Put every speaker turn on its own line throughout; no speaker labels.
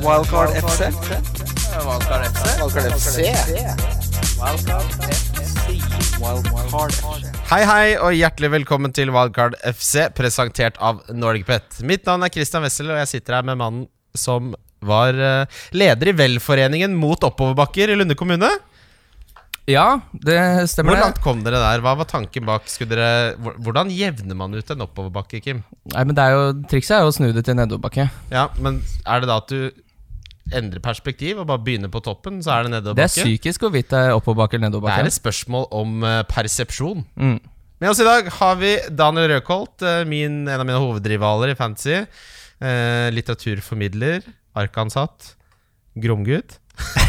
Wildcard FC.
Valkar FC.
Wildcard FC. Wildcard FC.
Hei, hei, og hjertelig velkommen til Wildcard FC, presentert av Norgepet. Mitt navn er Christian Wessel, og jeg sitter her med mannen som var eh, leder i Velforeningen mot oppoverbakker i Lunde kommune.
Ja, det stemmer
Hvor
det.
langt kom dere der? Hva var tanken bak? Skulle dere, hvor- hvordan jevner man ut en oppoverbakke, Kim?
Nei, men det er jo, Trikset er jo å snu det til nedoverbakke.
Ja, men er det da at du endrer perspektiv og bare begynner på toppen, så er det
Det er
nedoverbakke?
psykisk hvorvidt det er oppoverbakke
Det
eller
er
nedoverbakke.
et spørsmål om eh, persepsjon.
Mm.
Med oss i dag har vi Daniel Røkholt, eh, min, en av mine hovedrivaler i fantasy. Eh, litteraturformidler, arkansatt, gromgutt.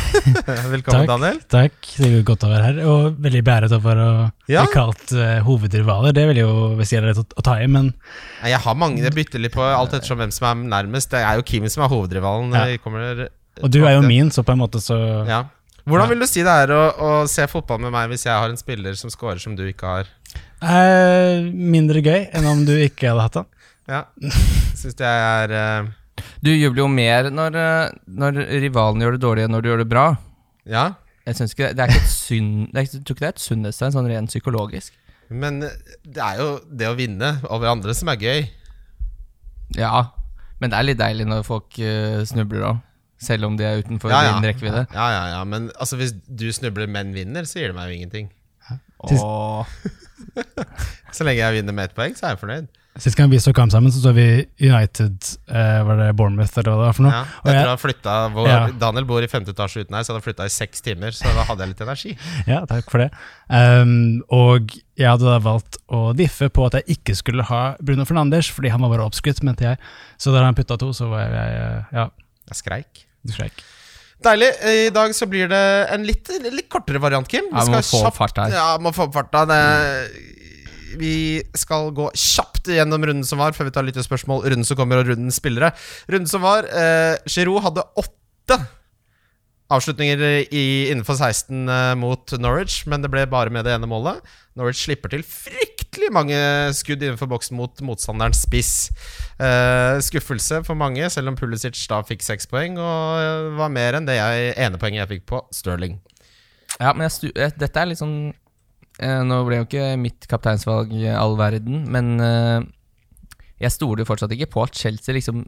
Velkommen,
Takk.
Daniel.
Takk, det er jo godt å være her, og veldig beæret over å
Ja.
bli kalt eh, hovedrivaler. Det vil jo hvis jeg er rett å, å ta i, men
Nei, Jeg har mange, jeg bytter litt på alt ettersom hvem som er nærmest. Det er jo Kim som er hovedrivalen.
Ja.
Vi kommer eh,
Og du er jo
tilbake til-
min, så på en måte så
Ja. Hvordan vil du si det er å, å se fotball med meg hvis jeg har en spiller som scorer som du ikke har?
eh, Mindre gøy enn om du ikke hadde hatt den.
Ja, Syns jeg er eh,
Du jubler jo mer når, eh, når rivalen gjør det dårlig enn når du gjør det bra.
Ja.
Jeg synes ikke, det- Det er ikke et synd, det er, ikke- jeg tror ikke det er et sunnhetstegn, sånn rent psykologisk.
Men eh, det er jo det å vinne over andre som er gøy.
Ja, men det er litt deilig når folk eh, snubler òg. Selv om de er utenfor
Ja, ja.
din rekkevidde.
Ja, ja, ja, men altså, hvis du snubler, men vinner, så gir det meg jo ingenting.
Åh.
Så lenge jeg vinner med ett poeng, så er jeg fornøyd.
Sist gang vi så kamp sammen, så så vi United eh, Var det Bournemouth, eller hva det var for noe?
Ja,
og
etter
jeg-
å ha flyttet hvor,
Ja.
Daniel bor i femte etasje uten her, så hadde jeg flytta i seks timer, så da hadde jeg litt energi.
Ja, takk for det. Ehm, og jeg hadde da valgt å diffe på at jeg ikke skulle ha Bruno Fernandes, fordi han var bare oppskrytt, mente jeg. Så da han putta to, så var jeg eh, Ja,
Jeg skreik.
du skreik.
Deilig. Eh, I dag så blir det en litt, litt kortere variant, Kim.
Ja, vi må få opp farta her.
Ja, må få opp farta. Det, vi skal gå kjapt gjennom runden som var, før vi tar litt spørsmål. Runden som kommer, og rundens spillere. Runden som var, eh, Giroud hadde åtte avslutninger i, innenfor 16 eh, mot Norwich, men det ble bare med det ene målet. Norwich slipper til fryktelig mange skudd innenfor boksen mot motstanderens spiss. Eh, skuffelse for mange, selv om Pulisic da fikk seks poeng, og eh, var mer enn det jeg, ene poenget jeg fikk på Sterling.
Ja, men jeg stu, eh, dette er litt sånn eh, Nå ble jo ikke mitt kapteinsvalg eh, all verden, men eh, jeg stoler jo fortsatt ikke på at Chelsea liksom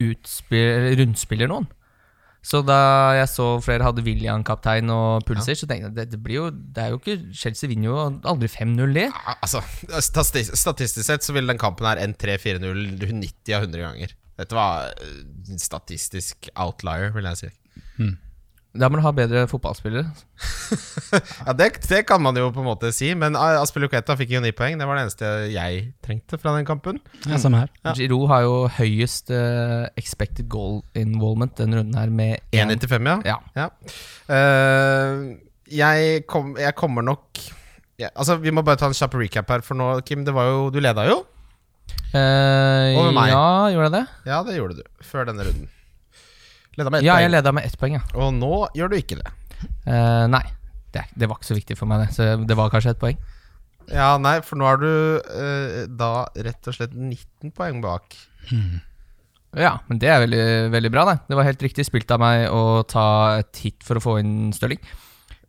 utspiller, rundspiller noen. Så da jeg så flere hadde William kaptein og Pulisic, så tenkte jeg det, det blir jo Det er jo ikke Chelsea vinner jo aldri 5-0, det.
Ja, altså, statis- statistisk sett så ville den kampen her endt 3-4-0 90 av 100 ganger. Dette var eh, en statistisk outlier, vil jeg si.
Da må du ha bedre fotballspillere.
Ja, det, det kan man jo på en måte si, men eh, Aspilicueta fikk jo ni poeng. Det var det eneste jeg trengte fra den kampen.
Ja, samme her.
Ja.
Giroud har jo høyest eh, expected goal involvement denne runden her med en-
1,95, ja.
Ja.
Eh, jeg, kom, jeg kommer nok ja, Altså, Vi må bare ta en kjapp recap her, for nå, Kim, det var jo, du leda jo.
Eh,
Over meg.
Ja, gjorde jeg det?
Ja, det gjorde du. Før denne runden. Leda med ett
Ja, jeg
poeng.
leda med ett poeng, ja.
Og nå gjør du ikke det.
Eh, nei, det, det var ikke så viktig for meg, det. Så det var kanskje et poeng.
Ja, nei, for nå er du eh, da rett og slett 19 poeng bak.
Ja, men det er veldig, veldig bra, det. Det var helt riktig spilt av meg å ta et hit for å få inn Stirling.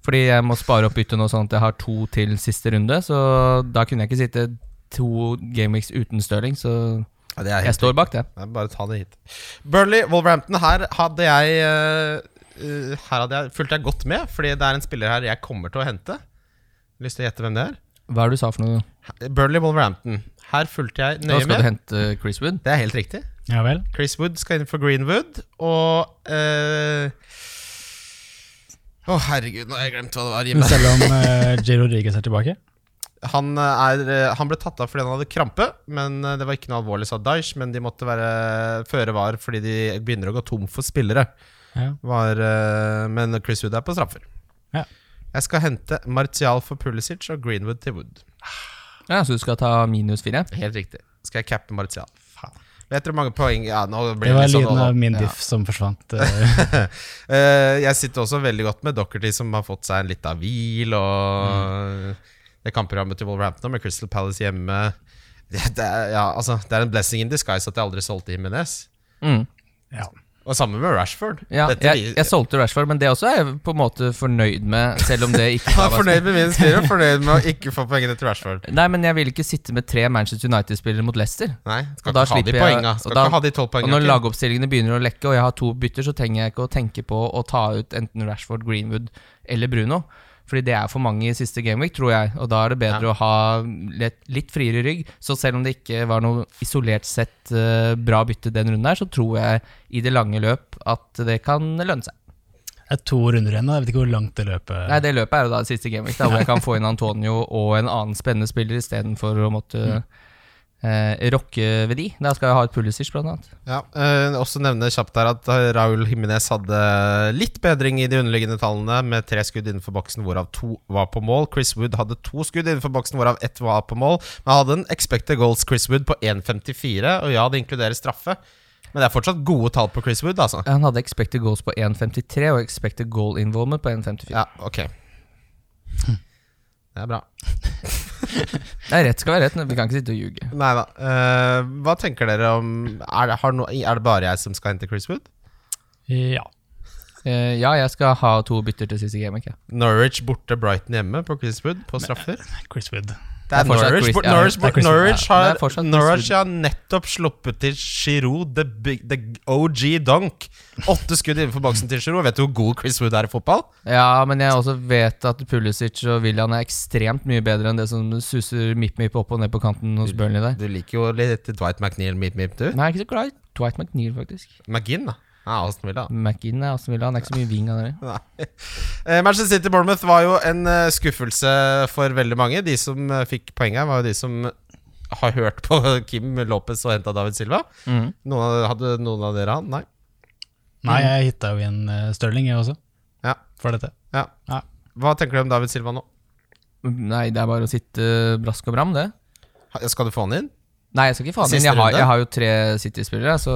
Fordi jeg må spare opp byttet nå, sånn at jeg har to til siste runde. Så da kunne jeg ikke sitte to gameweeks uten Stirling, så
Ja, det er
jeg står bak det.
Nei, bare ta det hit. Burnley, Wolverhampton. Her hadde jeg eh, eh, Her hadde jeg, fulgte jeg godt med, fordi det er en spiller her jeg kommer til å hente. Lyst til å gjette hvem det er?
Hva er det du sa for noe?
Burnley, Wolverhampton. Her fulgte jeg
Nå
nøye
skal du
med.
hente Chris Wood.
Det er helt riktig.
Ja vel.
Chris Wood skal inn for Greenwood, og eh, Å, herregud, nå har jeg glemt hva det var.
Men
Jimmy.
selv om uh, J. Rodriguez er tilbake?
Han, eh, er, eh, han ble tatt av fordi han hadde krampe, men eh, det var ikke noe alvorlig, sa Daesh. Men de måtte være føre var fordi de begynner å gå tom for spillere.
Ja.
var, eh, Men Chris Wood er på straffer.
Ja.
Jeg skal hente Martial for Pulisic og Greenwood til Wood.
Ja, Så du skal ta minus fire?
Helt riktig. Skal jeg cappe Martial. Vet dere hvor mange poeng Ja, nå
Det
blir det
var
litt sånn
lyden av min
ja.
diff som forsvant. eh.
Eh, Jeg sitter også veldig godt med Doherty, som har fått seg en lita hvil, og det kampprogrammet til Wolverhampton med Crystal Palace hjemme det, det, er, ja, altså, det er en blessing in disguise at jeg aldri solgte Jimenez.
Mm.
ja.
Og samme med Rashford.
Ja,
Dette
jeg,
vi-
jeg solgte Rashford, men det også er jeg på en måte fornøyd med, selv om det ikke
jeg
var
er fornøyd med min spiller og fornøyd med å ikke få poengene til Rashford.
Nei, men jeg vil ikke sitte med tre Manchester United-spillere mot Leicester.
Nei, skal
Og da
ikke ha de
slipper jeg-
poenga. Skal
og da-
ikke ha de tolv
Og
poengene.
når
til.
lagoppstillingene begynner å lekke, og jeg har to bytter, så trenger jeg ikke å tenke på å ta ut enten Rashford, Greenwood eller Bruno. Fordi det er for mange i siste gameweek, tror jeg. Og da er det bedre å ha litt, litt friere rygg. Så selv om det ikke var noe isolert sett eh, bra bytte den runden her, så tror jeg i det lange løp at det kan lønne seg.
Det er to runder igjen, da. jeg vet ikke hvor langt det løpet
Nei, det løpet er jo da siste gameweek, da, hvor jeg kan få inn Antonio og en annen spennende spiller istedenfor å måtte
Mm.
eh, rocke ved de. Da skal jeg ha et Pulisic, blant annet.
Ja, eh, også nevne kjapt her at Raul Jiminez hadde eh, litt bedring i de underliggende tallene, med tre skudd innenfor boksen, hvorav to var på mål. Chris Wood hadde to skudd innenfor boksen, hvorav ett var på mål. Men hadde en expected goals Chris Wood på 1,54, og ja, det inkluderer straffe. Men det er fortsatt gode tall på Chris Wood, altså.
Han hadde expected goals på 1,53 og expected goal involvement på 1,54.
Ja, ok. Det er bra.
Nei, rett skal være rett. Vi kan ikke sitte og ljuge.
Nei da. Eh, hva tenker dere om er det, har no, er det bare jeg som skal hente Chris Wood?
Ja.
Eh, ja, jeg skal ha to bytter til siste game. Ikke?
Norwich borte, Brighton hjemme på Chris Wood på straffer?
Chris Wood.
Det er
Det er fortsatt
Norwich.
Chris-
Bort,
ja,
Norwich,
det er
bort,
Chris-
Norwich,
ja, det
har,
er fortsatt Chris
Norwich
Wood.
har nettopp sluppet til Giroud, the, big, the OG donk. Åtte skudd innenfor boksen til Giroud. Vet du hvor god Chris Wood er i fotball?
Ja, men jeg også vet at Pulisic og William er ekstremt mye bedre enn det som suser mip-mip opp og ned på kanten hos Burnley der.
Du liker jo litt Dwight McNeil, meep meep, du.
Nei, jeg er ikke så glad i Dwight McNeil, faktisk.
McGinn, da. Ja, Aston Villa.
McInn er Aston Villa, han er ikke så mye wing av dere.
Nei. Eh, Manchester City Bournemouth var jo en eh, skuffelse for veldig mange. De som eh, fikk poenget, var jo de som har hørt på Kim Lopez og henta David Silva.
Mhm.
Noen av, hadde noen av dere han? Nei.
Nei, jeg hitta jo igjen uh, Stirling, jeg også,
Ja.
for dette.
ja.
Ja.
Hva tenker du om David Silva nå?
Nei, det er bare å sitte brask og bram, det.
Ha- Skal du få han inn?
Nei, jeg skal ikke faen inn.
Siste
Jeg har,
runde?
jeg har jo tre City-spillere, så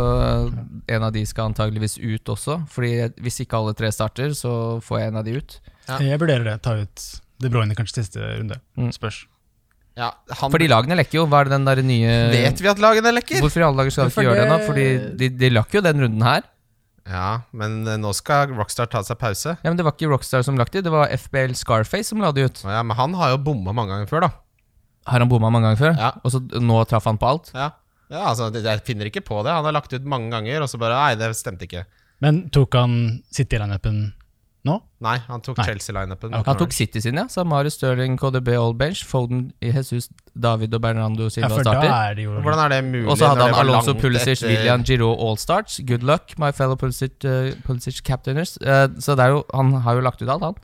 en av de skal antageligvis ut også. Fordi hvis ikke alle tre starter, så får jeg en av de ut.
Ja.
Jeg vurderer det. Ta ut De Bruyne kanskje siste runde.
Mm.
Spørs.
Ja, han
Fordi lagene lekker jo. Hva er det den der nye
Vet vi at lagene lekker?
Hvorfor i alle dager skal vi
For
ikke gjøre det nå?
det-
Fordi de, de lakk jo den runden her.
Ja, men eh, nå skal Rockstar ta seg pause.
Ja, Men det var ikke Rockstar som lakk det, det var FBL Scarface som la det ut.
Å Ja, men han har jo bomma mange ganger før, da.
Har han bomma mange ganger før?
Ja.
Og så nå traff han på alt?
Ja, ja altså, det- Jeg finner ikke på det. Han har lagt ut mange ganger, og så bare Nei, det stemte ikke.
Men tok han City i lineupen nå?
Nei, han tok
Nei.
Chelsea-lineupen.
Ja,
Han tok City sin, ja. Samari Sterling, KDB Old Bench, Foden, Jesus, David og Bernardo
Ja,
Silva
for da
starter.
er det jo
Hvordan er det mulig?
Og så hadde
når det
han
var
Alonso
langt
Pulisic,
etter-
William Giroud Allstarts. Good luck, my fellow Pulisic, eh, Pulisic captainers. Eh, så det er jo, han har jo lagt ut alt, han.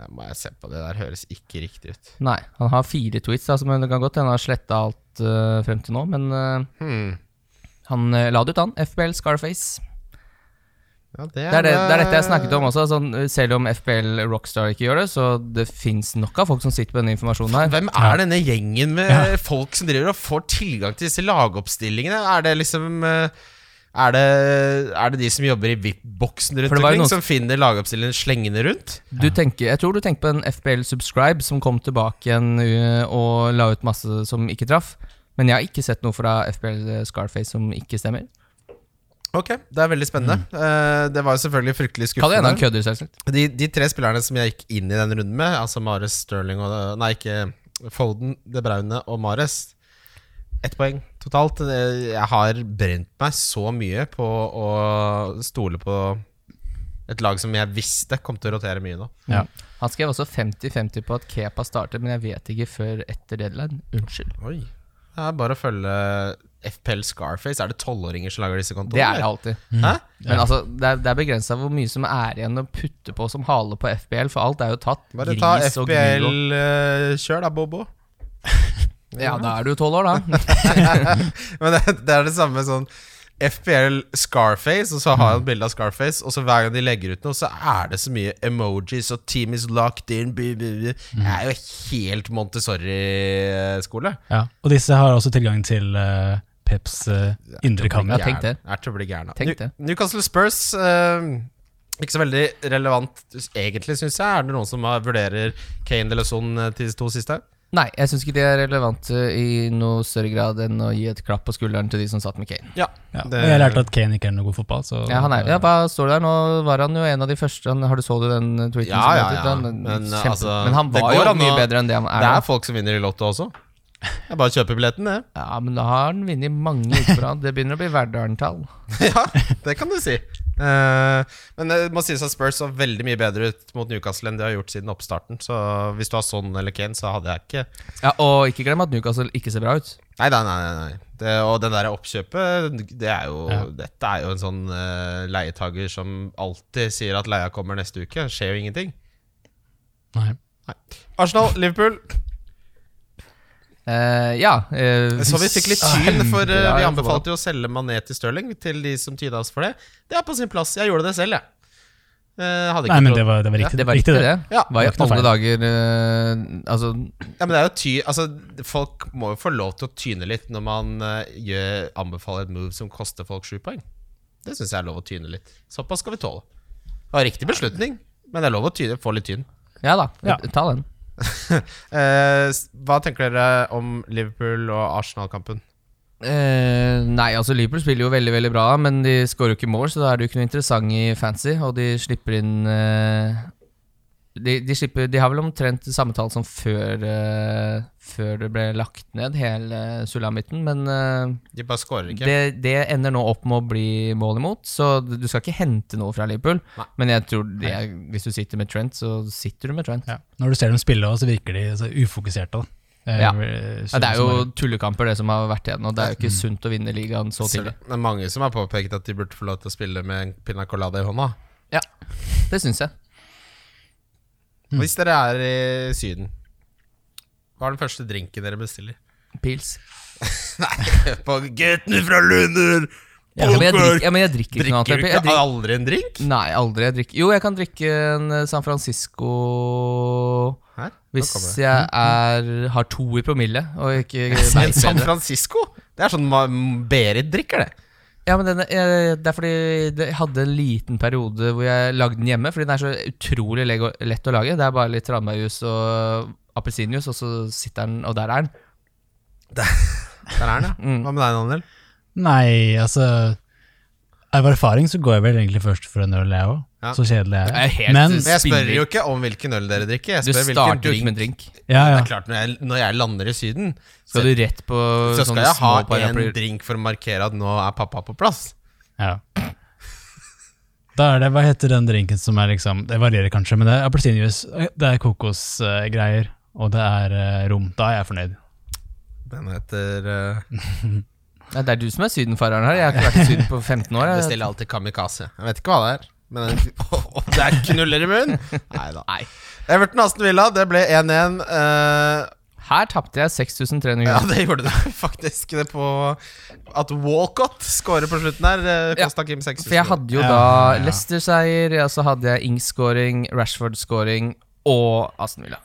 Ja, Må jeg se på det der, høres ikke riktig ut.
Nei, han har fire tweets, da, som det kan godt hende han har sletta alt eh, frem til nå, men eh,
Hmm.
han eh, la det ut, han. FBL Scarface.
Ja,
Det er, det, det er dette jeg snakket om også. Sånn, selv om FBL Rockstar ikke gjør det, så det fins nok av folk som sitter på denne informasjonen her.
Hvem er denne gjengen med folk som driver og får tilgang til disse lagoppstillingene? Er det liksom eh, Er det, er det de som jobber i VIP-boksen rundt
For det var jo
omkring,
noen-
som finner lagoppstillingene slengende rundt?
Du tenker, jeg tror du tenker på den FBL Subscribe som kom tilbake igjen ø, og la ut masse som ikke traff. Men jeg har ikke sett noe fra FBL eh, Scarface som ikke stemmer.
Ok, det er veldig spennende. Eh, det var jo selvfølgelig fryktelig
Kan Mm. det hende han
skuffende.
kødder, selvsagt.
De, de tre spillerne som jeg gikk inn i den runden med, altså Mares, Sterling og Nei, ikke Foden, De Braune og Mares. Ett poeng totalt. Eh, Jeg har brent meg så mye på å stole på et lag som jeg visste kom til å rotere mye nå.
ja.
Han skrev også 50-50 på at Kepa starter, men jeg vet ikke før etter deadline. Unnskyld.
Oi. Det er bare å følge FPL Scarface. Er det tolvåringer som lager disse kontoene?
Det er det
eller?
alltid.
Hæ?
Men altså, det er, det er begrensa hvor mye som er igjen å putte på som hale på FBL, for alt er jo tatt.
Bare ta
Gris og gnu og-
FPL-kjør, eh, da, Bobo.
Ja, da er du tolv år, da.
Men det, det er det samme sånn FPL Scarface, og så har
Mm.
han bilde av Scarface. Og så hver gang de legger ut noe, så er det så mye emojis og 'team is locked in'. Bu, bu, bu.
Mm.
Det er jo helt Montessori-skole.
ja. Og disse har også tilgang til eh, Peps eh, indre kammer.
Ja, tenk det.
Er til å bli gæren av.
Tenk det.
Nu- Newcastle Spurs eh, ikke så veldig relevant egentlig, syns jeg. Er det noen som har- vurderer Kane eller Son eh, til de to siste?
Nei, jeg syns ikke det er relevant eh, i noe større grad enn å gi et klapp på skulderen til de som satt med Kane.
Ja,
Ja.
Det-
og Jeg lærte at Kane ikke er noe god fotball, så
Ja, han er, ja, hva står det der? Nå var han jo en av de første han, Har du så du den eh, tweeten?
Ja,
som
ja,
ble
ja.
ut? Han-
Men,
kjempe-
altså,
men han
det
var
går
jo
an
mye
å-
bedre enn det han er.
det
nå.
er folk som vinner i Lotto også. Jeg bare kjøper billetten, jeg.
Ja, Men da har han vunnet mange uker på rad. Det begynner å bli Verdalen-tall.
ja, det kan du si. Eh, men det må sies at Spurs så veldig mye bedre ut mot Newcastle enn de har gjort siden oppstarten. Så hvis du har sånn eller Kane, så hadde jeg ikke
Ja, Og ikke glem at Newcastle ikke ser bra ut.
Nei, nei, nei. nei, nei. Det, og den der oppkjøpet, det er jo, dette er jo en sånn eh, leietager som alltid sier at leia kommer neste uke. Det Skjer jo ingenting.
Nei.
Arsenal, Liverpool.
Eh, ja eh,
Så vi fikk litt tyn, for eh,
Ja,
vi
jeg får
anbefalte jo å selge Mané til Stirling til de som tyda oss for det. Det er på sin plass. Jeg gjorde det selv, jeg. Eh, hadde ikke
Nei, men
trodd-
det var, det var riktig,
Det var riktig, det.
Ja,
det var
Hva i
ikke noe
alle dager eh, Altså,
Ja, men det er jo ty Altså, folk må jo få lov til å tyne litt når man eh, gjør, anbefaler et move som koster folk sju poeng. Det syns jeg er lov å tyne litt. Såpass skal vi tåle. Det var riktig beslutning, men det er lov å tyne, få litt tyn.
ja da.
Ja.
Ta den.
Eh, s- hva tenker dere om Liverpool og Arsenal-kampen?
Eh, nei, altså Liverpool spiller jo veldig veldig bra, men de skårer jo ikke mål, så da er det jo ikke noe interessant i fancy. Og de slipper inn eh, de, de, slipper, de har vel omtrent samme tall som før, eh, før det ble lagt ned, hele sulamitten. Men eh,
De bare skårer ikke.
det, det ender nå opp med å bli mål imot, så du skal ikke hente noe fra Liverpool.
Nei.
Men jeg tror det, er- hvis du sitter med Trent, så sitter du med Trent.
Ja. Når du ser dem spille, også, så virker de så ufokuserte. Da. Eh,
Ja.
eh,
Ja, det er jo
som
tullekamper, det som har vært igjen. Og det er jo ikke sunt å vinne ligaen så tidlig.
Mm. det er mange som har påpekt at de burde få lov til å spille med en piña colada i hånda.
Ja, det syns jeg.
Hvis dere er i Syden, hva er den første drinken dere bestiller?
Pils.
Nei, på gutten fra Lunder!
Ja, men jeg
Poker!
drikker, ja, men jeg drikker ikke noe annet.
Drikker du
Jeg
ikke
drikker,
aldri en drink?
nei, aldri. Jeg drikker. Jo, jeg kan drikke en eh, San Francisco
Her? Nå
hvis
kommer det. Mm,
jeg er, har to i promille og ikke vet
En sånn San
bedre.
Francisco? Det er sånn ma- m- Berit drikker, det.
Ja, men den, er- eh, det er fordi det- jeg hadde en liten periode hvor jeg lagde den hjemme, fordi den er så utrolig leg- og lett å lage. Det er bare litt tranbærjus og appelsinjuice, og så sitter den, og der er den.
Der er den, ja.
Mm.
Hva med deg, Daniel?
Nei, altså Av erfaring så går jeg vel egentlig først for en øl, jeg òg.
Ja.
Så kjedelig er
Jeg er
jeg.
helt-
Men
Men jeg spør
Spiller.
jo ikke om hvilken øl dere drikker. Jeg
Du
spør hvilken
starter jo
drink.
ikke med en drink.
ja,
Det
ja.
er klart, når jeg, når jeg lander i Syden,
Skal du rett på
så skal
sånne
jeg ha
små
en
paraplyer?
drink for å markere at nå er pappa på plass.
ja. Da er det, Hva heter den drinken som er liksom Det varierer kanskje, men det er appelsinjuice, eh, det er kokosgreier, og det er eh, rom. Da er jeg fornøyd.
Den heter uh,
Nei, det er du som er sydenfareren her. Jeg har ikke vært i Syden på 15 år. Jeg.
Bestiller alltid kamikaze. Jeg vet ikke hva det er. Men den- det er knuller i munnen! Nei da. Everton Aston Villa, det ble 1-1. eh,
Her tapte jeg 6300
Ja,
kroner.
det gjorde du faktisk. Det på at Walcott scorer på slutten her.
Ja,
Kosta Kim 6000.
For jeg hadde jo
Ja,
da
ja.
Leicester-seier, ja, så hadde jeg Ings-scoring, Rashford-scoring og Aston Villa.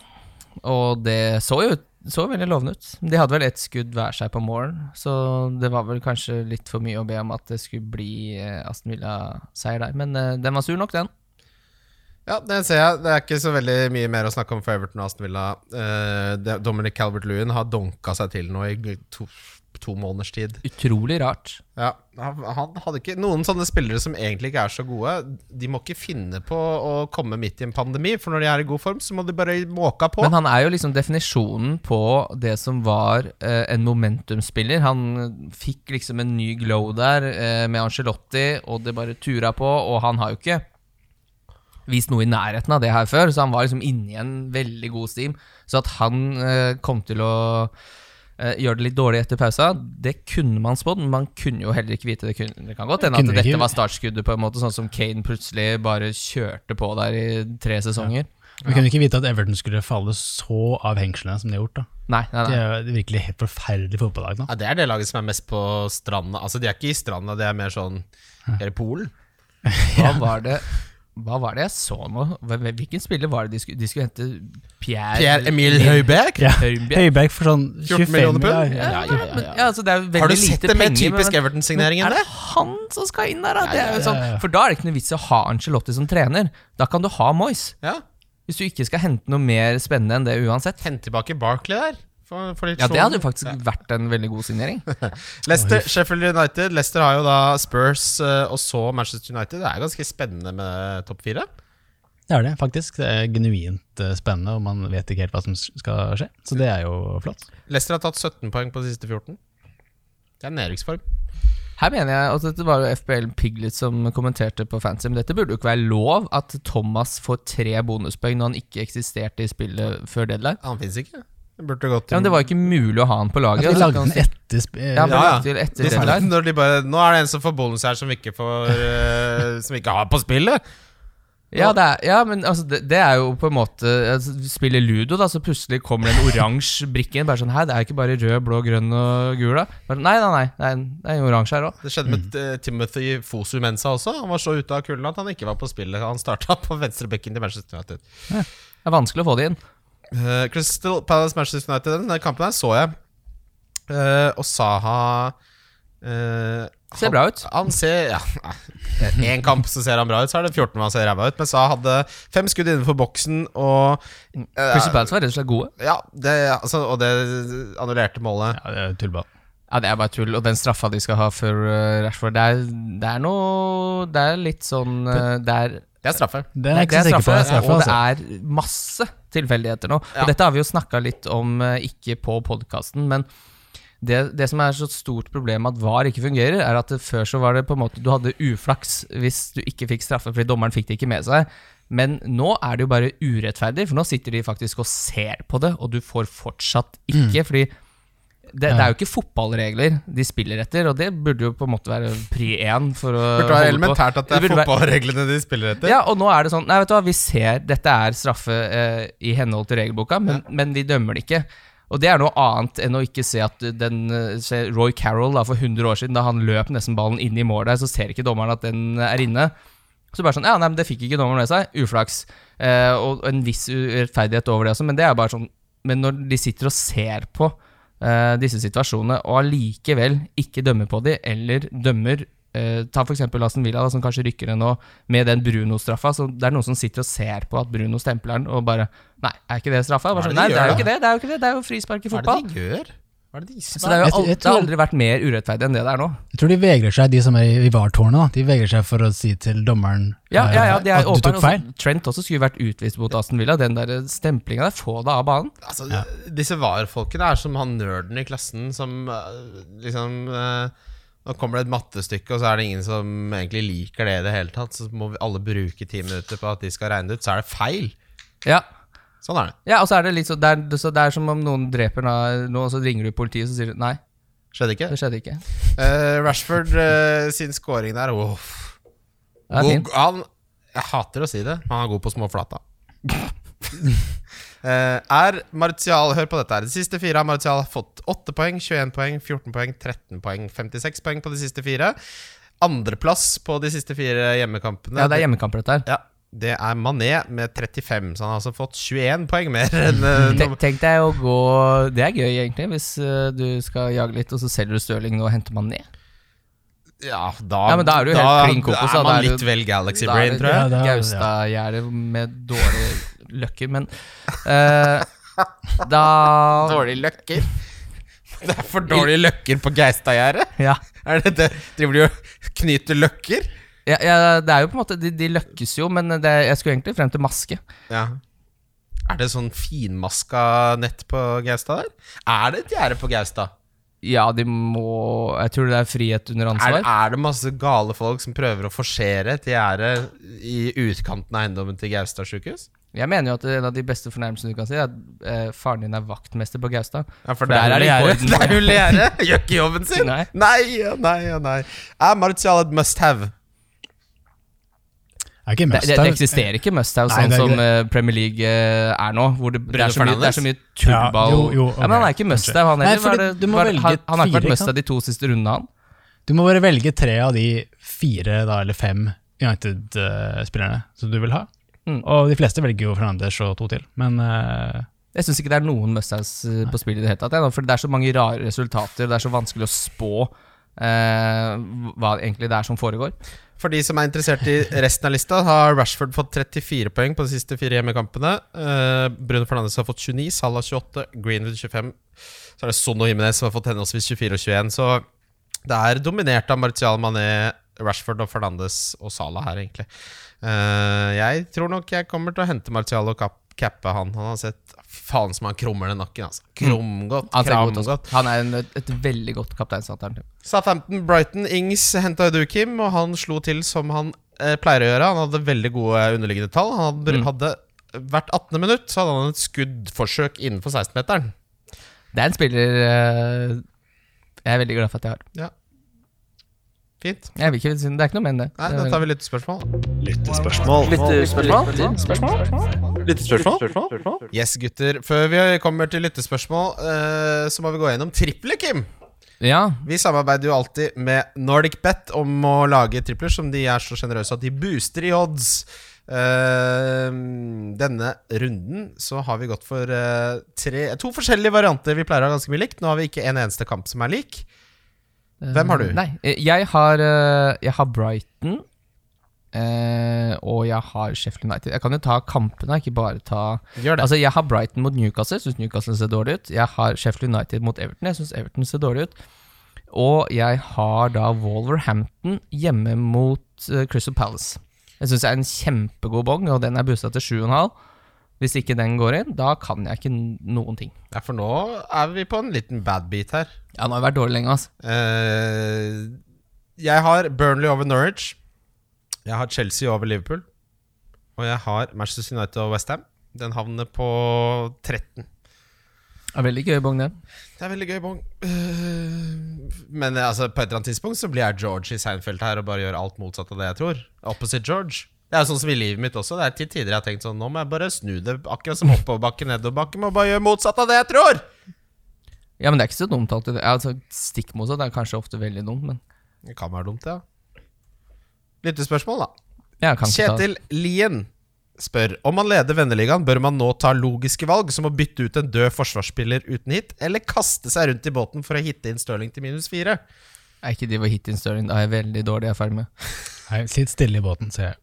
Og det så jo ut, så veldig lovende ut. De hadde vel ett skudd hver seg på morgen, så det var vel kanskje litt for mye å be om at det skulle bli eh, Aston Villa-seier der. Men eh, den var sur nok, den.
Ja, det ser jeg. Det er ikke så veldig mye mer å snakke om for Everton og Aston Villa. Eh, det- Dominic Calvert-Lewin har donka seg til nå i to, to måneders tid.
Utrolig rart.
Ja, han, han hadde ikke Noen sånne spillere som egentlig ikke er så gode, de må ikke finne på å komme midt i en pandemi, for når de er i god form, så må de bare måka på.
Men han er jo liksom definisjonen på det som var eh, en momentumspiller. Han eh, fikk liksom en ny glow der eh, med Angelotti, og det bare tura på. Og han har jo ikke vist noe i nærheten av det her før, så han var liksom inni en veldig god steam. Så at han eh, kom til å eh, gjøre det litt dårlig etter pausa, det kunne man spådd, men man kunne jo heller ikke vite det. Kunne, det kan godt hende
Kunne
at
ikke.
dette var startskuddet, på en måte, sånn som Kane plutselig bare kjørte på der i tre sesonger.
Vi kunne ikke vite at Everton skulle falle så av hengslene som de har gjort. da.
Nei, nei,
De
nei.
er jo et virkelig helt forferdelig fotballag nå.
Ja, det er det laget som er mest på stranda. Altså, de er ikke i stranda, det er mer sånn Eller Polen.
Hva var det Hva var det jeg så nå? Hvem- hvem- Hvilken spiller var det de skulle, de skulle hente? Pierre,
Pierre Emil Høibæk?
Ja.
Høibjerg.
Høibæk for sånn
14
25
millioner pund?
Ja, ja, ja, ja,
Men,
ja.
ja, altså, det er jo veldig
Har du sett
lite
det med
penger, men-
typisk Everton-signering?
men Er
eller?
det han som skal inn der, da? Det er
ja,
jo
ja.
sånn, for da er det ikke noe vits i å ha Angelotti som trener. Da kan du ha Moyes.
Ja.
Hvis du ikke skal hente noe mer spennende enn det uansett.
Hent tilbake Barkley der. For, for litt
Ja, det
sånn-
hadde jo faktisk vært en veldig god signering.
Leicester, Sheffield United. Leicester har jo da Spurs eh, og så Manchester United. Det er ganske spennende med topp fire.
Det er det, faktisk. Det er genuint eh, spennende, og man vet ikke helt hva som s- skal skje. Så det er jo flott.
Leicester har tatt 17 poeng på de siste 14. Det er nedrykksform.
Her mener jeg at dette var jo FBL Piglet som kommenterte på Fancy, men dette burde jo ikke være lov at Thomas får tre bonuspoeng når han ikke eksisterte i spillet før deadline.
Han fins ikke. Det burde gått til
Ja, men Det var jo ikke mulig å ha han på laget.
Ja, de
altså,
lagde
kan
den
si-
etter sp- eh,
Ja, men
Ja, ja.
lagt til etter
de sa det
deadline.
når de bare, Nå er det en som får bonus her, som vi ikke, får, eh, som vi ikke har på spillet.
Ja, det er, ja, men altså, det, det er jo på en måte altså, du Spiller ludo, da, så plutselig kommer det en oransje brikke inn. Bare sånn, Hei, det er jo ikke bare rød, blå, grønn og gul, da. Bare, sånn, nei, nei, nei, det er en, det er en oransje her òg.
Det skjedde med
Mm.
eh, Timothy Fosu Mensa også. Han var så ute av kulden at han ikke var på spillet. Han starta på venstrebekken til Manchester United.
Det er vanskelig å få det inn.
Eh, Crystal Palace Manchester United, den der kampen her så jeg. Eh, og Saha eh,
Ser bra ut.
Han ser ja, Én kamp så ser han bra ut, så er det 14 man ser ræva ut. Men Saha hadde fem skudd innenfor boksen, og eh,
Crystal Palace var rett og slett gode.
Ja, det, altså, og det annullerte målet.
Ja, det er tullball.
Ja, Det er bare tull. Og den straffa de skal ha for eh, Rashford, det er, det er noe Det er litt sånn eh, Det er
Det er straffe.
Det er jeg
det
ikke så sikker på.
straffe,
Det er straffe,
og
altså.
det er masse tilfeldigheter nå.
Ja.
Og dette har vi jo snakka litt om, eh, ikke på podkasten, men det, det som er så stort problem med at VAR ikke fungerer, er at det før så var det på en måte du hadde uflaks hvis du ikke fikk straffe fordi dommeren fikk det ikke med seg. Men nå er det jo bare urettferdig, for nå sitter de faktisk og ser på det, og du får fortsatt ikke.
Mm.
fordi det, det er jo ikke fotballregler de spiller etter, og det burde jo på en måte være pri én for å
Burde være
holde på.
elementært at det er
burde være-
fotballreglene de spiller etter.
ja, og nå er det sånn Nei, vet du hva, vi ser dette er straffe eh, i henhold til regelboka, men, men vi dømmer det ikke. Og det er noe annet enn å ikke se at den eh, se Roy Carroll da, for 100 år siden, da han løp nesten ballen inn i mål der, så ser ikke dommeren at den er inne. Så bare sånn Ja, nei, men det fikk ikke dommeren med seg. Uflaks. Eh, og og en viss urettferdighet over det også, men det er bare sånn Men når de sitter og ser på eh, disse situasjonene, og allikevel ikke dømmer på de, eller dømmer eh, Ta f.eks. Aston Villa, da, som kanskje rykker ned nå, med den Bruno-straffa. Så det er noen som sitter og ser på at Bruno stempler den, og bare Nei, er ikke det straffa? Bare
Hva er
sånn,
det de
nei, det
gjør,
er jo
da?
ikke det. Det er jo ikke det. Det er jo frispark i
Hva er det
fotball.
de gjør? Hva er det de ikke
Så det, er jo
Jeg- jeg
al- det har
tror-
aldri vært mer urettferdig enn det det er nå.
Jeg tror de vegrer seg, de som er i VAR-tårnet. da. De vegrer seg for å si til dommeren
Ja,
eh,
ja, ja, det er
at
altså.
du
åpenbart
tok
også-
feil.
Trent også skulle vært utvist mot Aston Villa. Den der stemplinga der, få det av banen.
Altså, Disse VAR-folkene er som han nerden i klassen som eh, liksom eh, Nå kommer det et mattestykke, og så er det ingen som egentlig liker det i det hele tatt. Så må vi alle bruke ti minutter på at de skal regne det ut, så er det feil.
Ja.
Sånn er det.
ja, og så er det litt så det, er, så det er som om noen dreper deg nå, og så ringer du politiet, så sier du nei,
Skjedde ikke?
det skjedde ikke.
Eh, Rashford eh, sin scoring der uff.
Det er
God-
fint.
han, Jeg hater å si det, men han er god på småflata. Eh, er Martial Hør på dette. her De siste fire har Martial fått 8 poeng, 21 poeng, 14 poeng, 13 poeng. 56 poeng på de siste fire. Andreplass på de siste fire hjemmekampene.
Ja, det er hjemmekamper, dette her.
Ja, det er Mané med 35, så han har altså fått 21 poeng mer enn eh,
Tenk, tenk deg å gå Det er gøy, egentlig, hvis eh, du skal jage litt, og så selger du Stirling og henter man ned.
Ja, da,
Ja, men da er du helt klin kokos, da.
er man
Da er du-
litt vel Galaxy
Da er
Brain,
det
tror jeg.
Ja, det er- ja.
Gaustadgjerde med dårlig løkke, men eh, Da
Dårlige løkker. Det er for dårlige løkker på Geistadgjerdet?
Ja.
Er det det? Driver de og knyter løkker?
Ja, ja, det er jo på en måte De, de løkkes jo, men det, jeg skulle egentlig frem til maske.
Ja. Er det sånn finmaska nett på Gaustad der? Er det et gjerde på Gaustad?
Ja, de må Jeg tror det er frihet under
Er,
ansvar.
er det masse gale folk som prøver å forsere et gjerde i utkanten av eiendommen til Gaustad sjukehus?
Jeg mener jo at en av de beste fornærmelsene du kan si, er at eh, faren din er vaktmester på Gaustad.
Ja, for,
der er det ikke orden.
Det er jo gjerde! Gjør ikke jobben sin!
Nei.
nei, ja, nei. ja, nei. Er Martial et must have?
Det er ikke
Det,
must
det,
have.
det eksisterer ikke Musthaug
Nei,
sånn
det er
som
ikke
eh, Premier League eh, er nå. Hvor det, det, er så mye, det er så mye
Ja,
tullball.
jo, jo,
ja, men han
ok,
er ikke Musthaug, han
Nei,
heller.
fordi
Var det,
du må
var,
velge
han, han har ikke
fire, ikke
vært
sant?
Musthaug de to siste rundene, han.
Du må bare velge tre av de fire da, eller fem United-spillerne som du vil ha.
Mm.
Og de fleste velger jo Fernandes og to til, men eh,
Jeg syns ikke det er noen Mustaus på spill i det hele tatt. jeg, da, For det er så mange rare resultater, og det er så vanskelig å spå eh, hva egentlig det er som foregår.
For de som er interessert i resten av lista, har Rashford fått 34 poeng på de siste fire hjemmekampene. Eh, Bruno Fernandes har fått 29, Salah 28, Greenwood 25. Så er det Son og Jimenez som har fått henholdsvis 24 og 21. Så det er dominert av Martial Mané, Rashford og Fernandes og Salah her, egentlig. Eh, jeg tror nok jeg kommer til å hente Martial og kap cappe han. Han har sett faen som han krummer den nakken, altså. Krumgodt,
Mm. Han, ser god ut altså. også.
kramgodt.
han er en, et veldig godt kapteinsalternativ.
Southampton, Brighton, Ings henta du, Kim, og han slo til som han eh, pleier å gjøre. Han hadde veldig gode eh, underliggende tall. Han hadde,
Mm.
hadde Hvert 18. minutt så hadde han et skuddforsøk innenfor 16-meteren.
Det er en spiller eh, jeg er veldig glad for at jeg har.
Fint.
Jeg vil ikke, si- det er ikke noe men det.
Nei, Da tar vi litt spørsmål.
Lyttespørsmål.
Yes, gutter. Før vi kommer til lyttespørsmål, eh, så må vi gå gjennom triplet, Kim.
Ja,
Vi samarbeider jo alltid med Nordic Bet om å lage tripler som de er så sjenerøse at de booster i odds. Eh, denne runden så har vi gått for eh, tre, to forskjellige varianter vi pleier å ha ganske mye likt. Nå har vi ikke en eneste kamp som er lik. Hvem har du?
Nei, eh, jeg har, eh, jeg har Brighton. eh, og jeg har Sheffield United. Jeg kan jo ta kampene, ikke bare ta
Gjør det.
Altså, jeg har Brighton mot Newcastle. Jeg syns Newcastle ser dårlig ut. Jeg har Sheffield United mot Everton. Jeg syns Everton ser dårlig ut. Og jeg har da Wolverhampton hjemme mot eh, Crystal Palace. Jeg syns det er en kjempegod bong, og den er bussa til 7,5. Hvis ikke den går inn, da kan jeg ikke n- noen ting.
ja, for nå er vi på en liten bad beat her.
Ja, nå har jeg vært dårlig lenge, altså.
Eh, jeg har Burnley over Norwich. Jeg har Chelsea over Liverpool. Og jeg har Manchester United over Westham. Den havner på 13.
Det er veldig gøy bong, den.
Det er veldig gøy, Bong. Øh, Men altså, på et eller annet tidspunkt så blir jeg George i Seinfeld her og bare gjør alt motsatt av det jeg tror. Opposite George. Det er jo sånn som i livet mitt også. Det er til tider jeg har tenkt sånn Nå må jeg bare snu det akkurat som oppoverbakke, nedoverbakke. Må bare gjøre motsatt av det jeg tror!
Ja, men det er ikke så dumt alltid. Altså, stikk motsatt er kanskje ofte veldig dumt, men
Det kan være dumt, ja. Lyttespørsmål, da.
jeg kan ikke ta det.
Kjetil Lien spør om man leder Venneligaen, bør man nå ta logiske valg, som å bytte ut en død forsvarsspiller uten hit, eller kaste seg rundt i båten for å hitte inn Stirling til minus fire?
Er ikke de var hit in stirring, da er jeg veldig dårlig erfaring med.
Nei, Sitt stille i båten, sier jeg.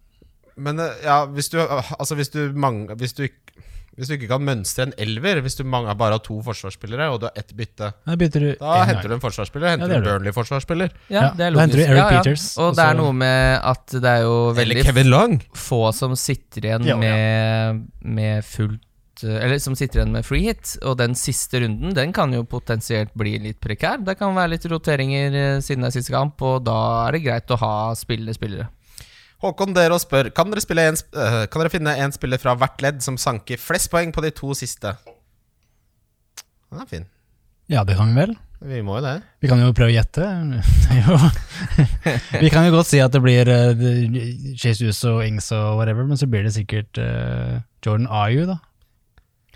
Men eh, ja, hvis du, altså hvis du, mang, hvis du, ikk- hvis du ikke kan mønstre en elver, hvis du mang, bare har to forsvarsspillere og du har ett bytte,
Da bytter du
da henter du en forsvarsspiller. Henter
det
du en
gjør
Burnley-forsvarsspiller.
Ja,
Ja,
det er
da henter
logisk.
du Eric
ja, ja.
Peters,
Og
og
det
så-
er noe med at det er jo
Eller
veldig
Kevin Lang.
få som sitter igjen
Ja, ja.
Med, med fullt eh, Eller som sitter igjen med free hit, og den siste runden Den kan jo potensielt bli litt prekær. Det kan være litt roteringer eh, siden det er siste kamp, og da er det greit å ha spillende spillere.
Håkon Dero spør kan dere, spille en, sp- eh, kan dere finne en spiller fra hvert ledd som sanker flest poeng på de to siste? Den er fin.
Ja, det kan vi vel.
Vi må jo det.
Vi kan jo prøve å gjette. Det er jo- vi kan jo godt si at det blir eh, det- Jesus og Ings og whatever, men så blir det sikkert eh, Jordan Ayu, da.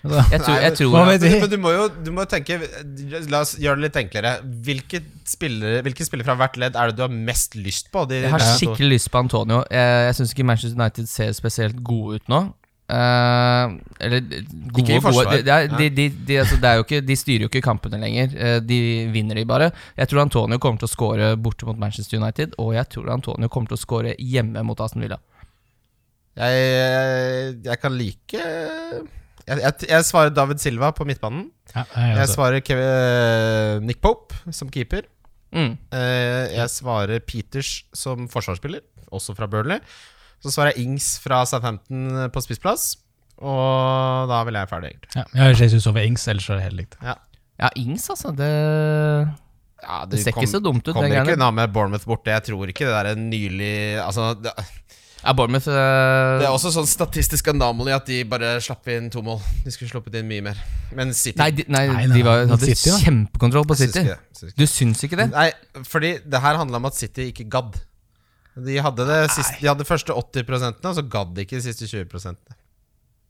Altså, da.
Jeg tror, jeg tror
Hva vet
Men,
vi?
men du må jo du må tenke La oss gjøre det litt enklere. Hvilke spillere, hvilke spillere fra hvert ledd er det du har mest lyst på? De,
Jeg har
neste to?
skikkelig lyst på Antonio. Jeg, jeg syns ikke Manchester United ser spesielt gode ut nå. Eh, eller gode,
Ikke i forsvar.
gode. Det, er-
Nei.
de, de, de, altså, det er jo ikke, de styrer jo ikke kampene lenger. Eh, de vinner de bare. Jeg tror Antonio kommer til å score borte mot Manchester United, og jeg tror Antonio kommer til å score hjemme mot Aston Villa.
Jeg, jeg kan like jeg, jeg, jeg svarer David Silva på midtbanen.
Ja, altså, jeg
Jeg
også.
svarer Kev eh, Nick Pope som keeper.
Mm.
Eh, Jeg svarer Peters som forsvarsspiller, også fra Burnley. Så svarer jeg Ings fra Southampton på spissplass. Og da vil jeg ferdig, egentlig.
ja, jeg har Jesus over Ings, ellers er det helt likt.
Ja, Ings, altså. Det,
Ja,
det ser ikke så dumt ut.
Kommer
den
ikke
gangen.
unna med Bournemouth borte. Jeg tror ikke det der nylig Altså, det,
Ja, Bournemouth eh,
det er også sånn statistisk anomaly at de bare slapp inn to mål. De skulle sluppet inn mye mer. Men City
nei, de, nei,
Nei, nei,
de var,
mot
hadde
City, da.
kjempekontroll på
Jeg syns
City.
ikke det. Jeg syns ikke det.
Du syns ikke det?
Nei, fordi det her handla om at City ikke gadd. De hadde, det siste, de hadde første 80 og så gadd de ikke de siste 20 prosentene.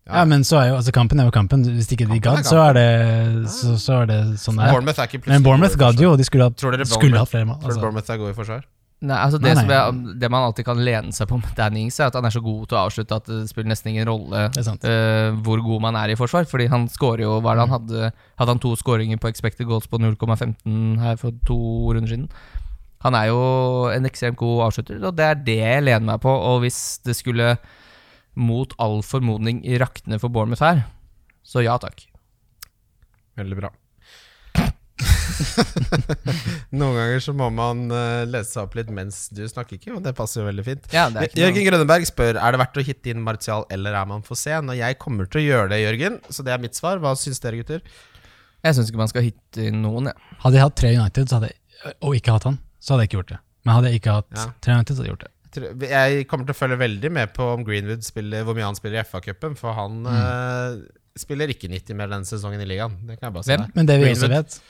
Ja.
Ja, men så er jo, altså kampen er jo kampen. Hvis ikke de
Kampen er
gadd, så er det, så, så er det sånn det er.
Bournemouth er ikke
Men Bournemouth gadd jo, og de skulle hatt,
Tror dere
skulle hatt
Bournemouth,
flere mål.
tror dere
Altså.
Bournemouth er gode i forsvar?
Nei, altså det,
Nei, nei.
Som jeg, det man alltid kan lene seg på med Danny Ings, er at han er så god til å avslutte at det spiller nesten ingen rolle
Det er sant. Mm.
eh, hvor god man er i forsvar. Fordi han skårer jo hva er det han hadde, hadde han to skåringer på expected goals på 0,15 her for to runder siden. Han er jo en ekstremt god avslutter, og det er det jeg lener meg på. Og hvis det skulle mot all formodning rakne for Bournemouth her, så ja takk.
Veldig bra. Noen ganger så må man eh, lese seg opp litt mens du snakker, ikke, og det passer jo veldig fint.
Ja, det er ikke noe-
Jørgen Grønneberg spør Er det verdt å hitte inn Martial eller er man for sen. Og jeg kommer til å gjøre det, Jørgen, så det er mitt svar. Hva syns dere, gutter?
Jeg syns ikke man skal hitte inn noen, jeg.
Hadde jeg hatt tre United så hadde jeg, og ikke hatt han, så hadde jeg ikke gjort det. Men hadde jeg ikke hatt
Ja.
tre United, så hadde jeg gjort det.
Tror- Jeg kommer til å følge veldig med på om Greenwood spiller, hvor mye han spiller i FA-cupen, for han
Mm.
eh, spiller ikke 90 mer denne sesongen i ligaen. Det kan jeg bare si
Hvem?
deg.
Men det vi også
Greenwood.
vet,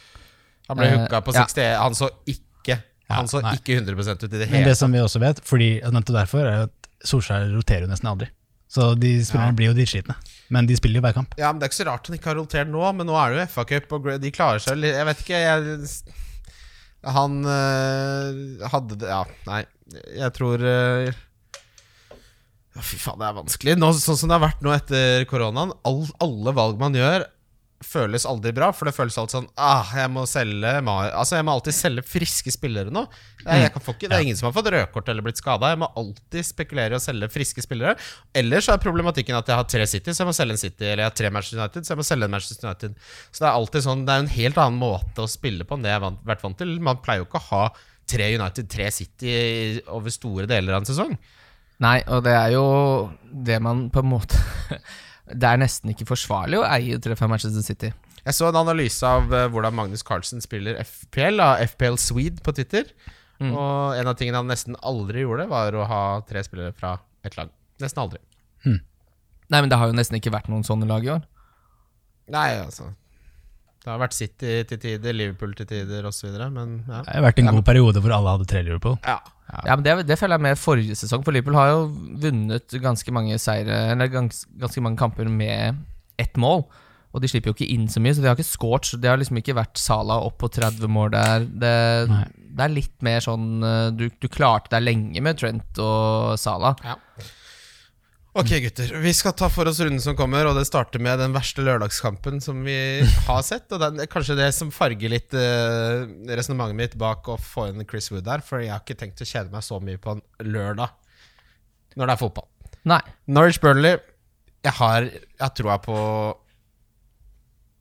Han ble
Eh,
hooka på
ja.
60 Han så ikke Han så
nei.
ikke 100 ut i det
men
hele
det som vi også vet, fordi jeg nevnte derfor, er jo at Solskjær roterer jo nesten aldri. Så de spillerne blir jo dritslitne. Men de spiller jo hver kamp.
Ja, men Det er ikke så rart han ikke har rotert nå, men nå er det jo FA-cup, og Gre- de klarer seg litt Jeg vet ikke, jeg Han øh, hadde det Ja, nei, jeg tror øh, ja, Fy faen, det er vanskelig. Nå, sånn som det har vært nå etter koronaen, all, alle valg man gjør, føles aldri bra. For det føles alltid sånn ah, Jeg må selge Mar Altså, jeg må alltid selge friske spillere nå. Jeg, jeg kan få ikke, det er ingen som har fått rødkort eller blitt skada. Jeg må alltid spekulere i å selge friske spillere. Ellers er problematikken at jeg har tre City, så jeg må selge en City. Eller jeg har tre Manchester United, så jeg må selge en Manchester United. Så det er alltid sånn Det er en helt annen måte å spille på enn det jeg har vant- vært vant til. Man pleier jo ikke å ha tre United, tre City over store deler av en sesong.
Nei, og det er jo det man på en måte Det er nesten ikke forsvarlig å eie tre fra Manchester City.
Jeg så en analyse av eh, hvordan Magnus Carlsen spiller FPL, av FPL Swede på Twitter. Mm. Og en av tingene han nesten aldri gjorde, var å ha tre spillere fra et lag. Nesten aldri.
Nei, men det har jo nesten ikke vært noen sånne lag i år.
Nei, altså Det har vært City til tider, Liverpool til tider osv., men ja.
Det har vært en god periode hvor alle hadde tre Liverpool.
ja.
Ja, men det, det føler jeg med forrige sesong, for Liverpool har jo vunnet ganske mange seire Eller gans, ganske mange kamper med ett mål. Og de slipper jo ikke inn så mye, så de har ikke scoret. Så det har liksom ikke vært Sala opp på 30 mål der. Det,
Nei.
det er litt mer sånn eh, du, du klarte deg lenge med Trent og Sala.
Ok, gutter. Vi skal ta for oss runden som kommer, og det starter med den verste lørdagskampen som vi har sett. Og den, det er kanskje det som farger litt uh, resonnementet mitt bak å få inn Chris Wood der, for jeg har ikke tenkt å kjede meg så mye på en lørdag når det er fotball.
Nei.
Norwich Burnley Jeg har Jeg tror jeg på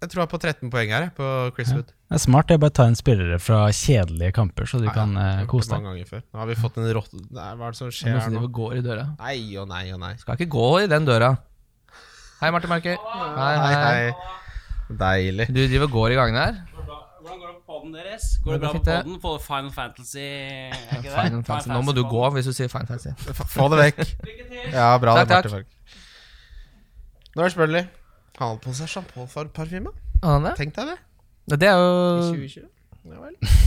Jeg tror jeg på 13 poeng her jeg, På Chris Wood
Det er smart det er bare å ta inn spillere fra kjedelige kamper, så de
Ja,
kan
ja.
eh,
Jeg har gjort
kose
det
deg.
mange ganger før Nå har vi fått en rått Nei, hva er det som
Det er
skjer
noen
her
som
nå?
driver og går i døra.
Nei og nei og nei
Skal ikke gå i den døra. Hei, Martin Marker. Hei,
Hei hei Deilig
Du driver og går i gangene her?
Hvordan går det på poden deres? Går det
Hvordan
bra på
fikk er det?
poden? På Final Fantasy? er ikke det?
Final Fantasy. Nå må du gå hvis du sier Final Fantasy.
F- Få det vekk
Lykke til!
Ja, bra
Takk,
det
takk.
Martin Falk Norwich Burnley Han hadde på seg Jean-Paul for parfyme
Ah, det?
Tenk deg det
det er jo
Mm.
2020 Ja vel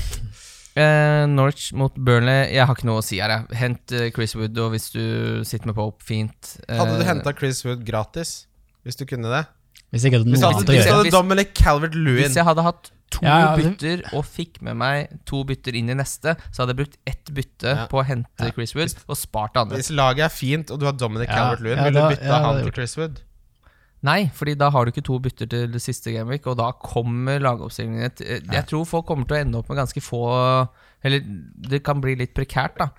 Eh, Norwich mot Burnley. Jeg har ikke noe å si her. Jeg. Hent eh, Chris Wood, og hvis du sitter med Pope, fint. Eh,
Hadde du hentet Chris Wood gratis Hvis du kunne det
Hvis ikke hadde
Hvis du
noe
hadde,
annet å
hvis du
Mm. gjøre.
hadde Dominic Calvert-Lewin
Hvis jeg hadde hatt to
Ja, altså- ja, men-
bytter og fikk med meg to bytter inn i neste, så hadde jeg brukt ett bytte
Ja.
på å hente Chris Wood og spart det andre.
Hvis laget er fint, og du har Dominic
Ja,
Calvert-Lewin,
ja,
vil du
da-
bytte
ja, da
han
hadde jeg
til
gjort
Chris Wood?
Nei, fordi da har du ikke to bytter til det siste gameweek, og da kommer lagoppstillingene til- eh, Jeg tror folk kommer til å ende opp med ganske få Eller det kan bli litt prekært, da.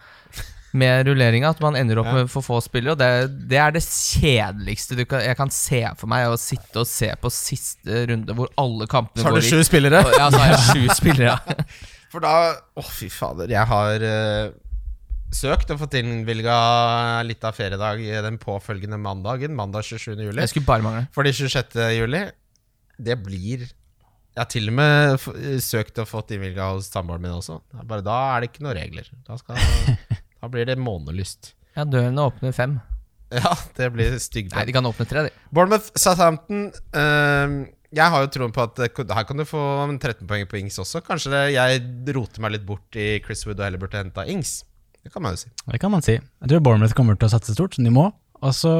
Med rulleringa, at man ender opp
Ja.
med for få spillere. Og det, det er det kjedeligste du kan, jeg kan se for meg, å sitte og se på siste runde hvor alle kampene går i
spillere?
Og- Ja, så har jeg sju spillere.
For da Å, fy fader. Jeg har eh, søkt og fått innvilga litt av feriedag i den påfølgende mandagen, mandag 27. juli.
Jeg skulle bare mangle.
Fordi 26. juli, det blir Jeg har til og med f søkt og fått innvilga hos samboeren min også. Det er Bare da er det ikke noen regler. Da, skal, da blir det månelyst.
Ja, dørene åpner fem.
Ja, det blir stygg
Nei, de kan åpne tre, de.
Bournemouth, Southampton ehm, Jeg har jo troen på at eh, ko- her kan du få en 13 poeng på Ings også. Kanskje det, jeg roter meg litt bort i Chris Wood og heller burde henta Ings. Det kan man jo si.
Det kan man si. Jeg tror Bournemouth kommer til å satse stort, som de må. Og så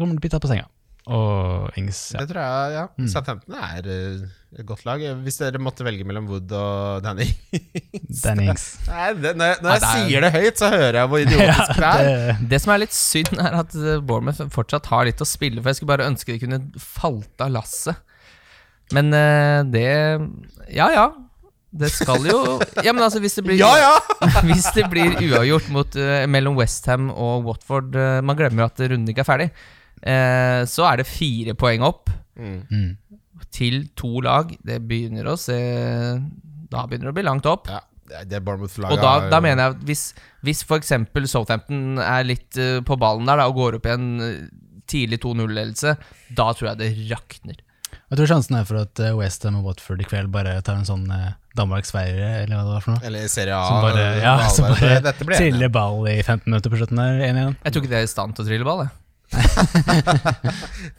kommer de til å bite på senga. Og Ings ja.
Det tror jeg, ja. Mm. Southampton er eh, et godt lag. Hvis dere måtte velge mellom Wood og Danny
Danny Ings.
Nei, det, Når jeg, når
Nei,
jeg
det
sier det høyt, så hører jeg hvor idiotisk det er.
Det,
Det som er litt synd, er at eh, Bournemouth fortsatt har litt å spille for. Jeg skulle bare ønske de kunne falt av lasset. Men eh, det Ja, ja. Det skal jo Ja, men altså, hvis det blir
Ja, ja!
Hvis det blir uavgjort mot, eh, mellom Westham og Watford eh, Man glemmer jo at runden ikke er ferdig. Eh, så er det fire poeng opp
Mm.
til to lag. Det begynner å se Da begynner det å bli langt opp.
ja det- det Bournemouth-laget
Og da, da mener jeg at hvis, hvis f.eks. Southampton er litt eh, på ballen der da, og går opp i en eh, tidlig 2-0-ledelse, da tror jeg det rakner.
Jeg tror sjansen er for at eh, West Ham og Watford i kveld bare tar en sånn eh, Danmarksveire, eller hva det var for noe.
Eller Serie A.
Som bare,
eh,
ja, som
Valverde.
bare
Dette blir enig.
triller ball i 15 minutter på slutten der, 1-1.
Jeg tror ikke det er i stand til å trille ball. Jeg.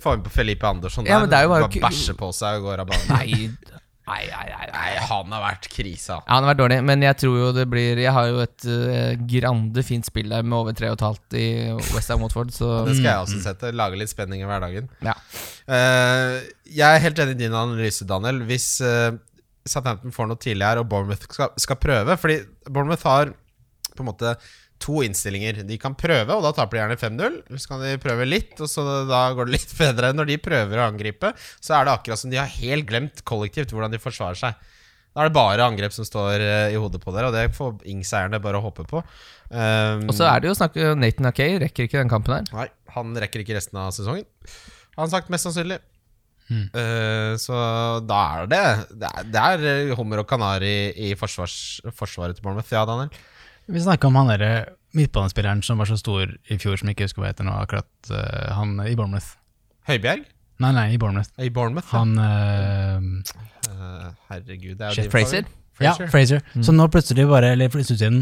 Få inn på Felipe Andersson
Ja, men det er jo bare ku-
bæsjer på seg og går av banen.
Nei, nei, nei, nei, nei.
Nei, han har vært krisa.
Ja, han har vært dårlig, men jeg tror jo det blir Jeg har jo et eh, grande fint spill der med over 3,5 i Westham Watford, så
Det skal jeg også sette. Lage litt spenning i hverdagen.
mm, ja.
Eh, jeg er helt enig i din analyse, Daniel. Hvis eh, Southampton får noe tidlig her, og Bournemouth skal, skal prøve Fordi Bournemouth har på en måte to innstillinger. De kan prøve, og da taper de gjerne 5-0. Så kan de prøve litt, og så da går det litt bedre. Når de prøver å angripe, så er det akkurat som de har helt glemt kollektivt hvordan de forsvarer seg. Da er det bare angrep som står eh, i hodet på dere, og det får Ings-eierne bare håpe på. Um,
Og så er det jo snakk eh, Nathan Akay rekker ikke den kampen her.
Nei, han rekker ikke resten av sesongen. Har han sagt mest sannsynlig.
Hmm.
Eh, så da er det Det er, det er eh, hummer og kanari i forsvars, forsvaret til Bournemouth. Ja, Daniel.
Vi snakka om han derre midtbanespilleren som var så stor i fjor, som jeg ikke husker hva heter nå, akkurat eh, han i Bournemouth.
Høibjerg
Nei, nei, i Bournemouth.
i Bournemouth. ja.
Han eh,
Eh, herregud, det er jo
Shit,
din
Fraser?
favoritt.
Ja,
Fraser.
Fraser.
Mm.
Som nå plutselig bare, eller for en stund siden,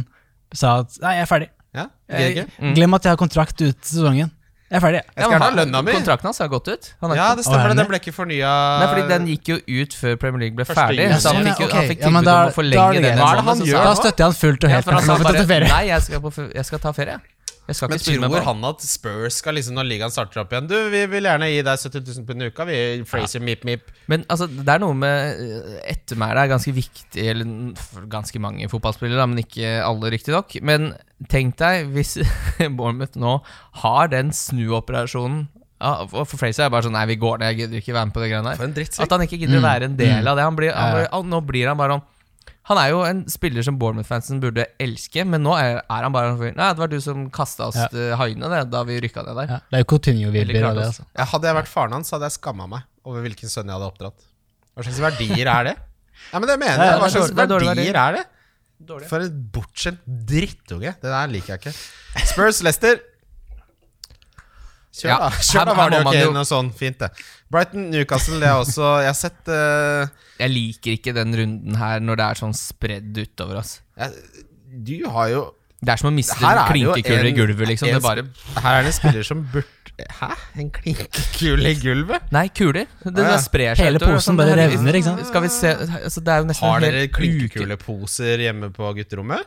sa at nei, jeg er ferdig.
Ja,
Jeg,
Greger.
Mm.
Glem at jeg har kontrakt ut sesongen. Jeg er ferdig. jeg».
Jeg skal gjerne ha lønna mi.
Kontrakten hans har gått ut. Han har
ja,
ikke-
Å, er
det stemmer.
den
det.
det?
Den ble ikke fornya.
Nei, fordi Den gikk jo ut før Premier League ble
Første
ferdig.
juli.
Så
Ja,
han fikk, jo,
ok.
han fikk
Ja, men
tilbud
da-
om å
da er
forlenge
det
den.
greit.
Hva er det han
så
gjør
sa
Da
nå?
støtter jeg han fullt og
Ja,
helt.
for
Han
han sa
får
bare
ta ferie.
Nei, jeg skal, på, f- jeg skal ta ferie. Jeg skal
Men
ikke spille med
tror
barn.
han at Spurs skal liksom når ligaen starter opp igjen Du, vi vil gjerne gi deg 70 000 pund i uka, vi. Fraser, mip, mip.
Men altså, det er noe med eh, ettermælet er ganske viktig Eller n- for ganske mange fotballspillere, da, men ikke alle, riktignok. Men tenk deg hvis Bournemouth nå har den snuoperasjonen ja, og For Fraser er det bare sånn Nei, vi går ned, jeg gidder ikke være med på det greiene
For
der.
en drittsekk.
At han ikke gidder å være en del av det. Han blir,
Mm.
han
Ja,
blir,
ja.
han, nå blir han bare sånn han er jo en spiller som Bournemouth-fansen burde elske, men nå er, er han bare en fyr, Nei, det var du som kasta oss
Ja.
til haiene det, da vi rykka ned der.
Ja, det er jo Coutinho-vibber
Eller
av det.
klart
Altså.
Ja, hadde jeg vært faren hans, hadde jeg skamma meg over hvilken sønn jeg hadde oppdratt. Hva slags verdier er det? Nei, men det mener jeg.
det
Hva
er
slags
dårlig- det er dårlig
verdier er det?
altså. Dårlig.
For en bortskjemt drittunge. Det der liker jeg ikke. Spurs, Leicester. Kjør,
Ja,
da. Kjør da
her- her
var det
må man
ok
jo-
noe sånn fint, det. Brighton, Newcastle, det er også Jeg har sett eh,
Jeg liker ikke den runden her når det er sånn spredd utover oss.
jeg, Du har jo
Det er som å miste
Her er det jo
klinkekuler i
en-
gulvet, liksom.
en
Det er bare
sp- Her er det en spiller som burde Hæ? En klinkekule i gulvet?
Nei, kuler. Det, det
Å, ja.
sprer seg
Hele
utover,
posen
sånn,
bare
det-
revner, ikke sant?
Skal vi se altså, Det er jo nesten
Har
en hel
dere
uke-
klinkekuleposer hjemme på gutterommet?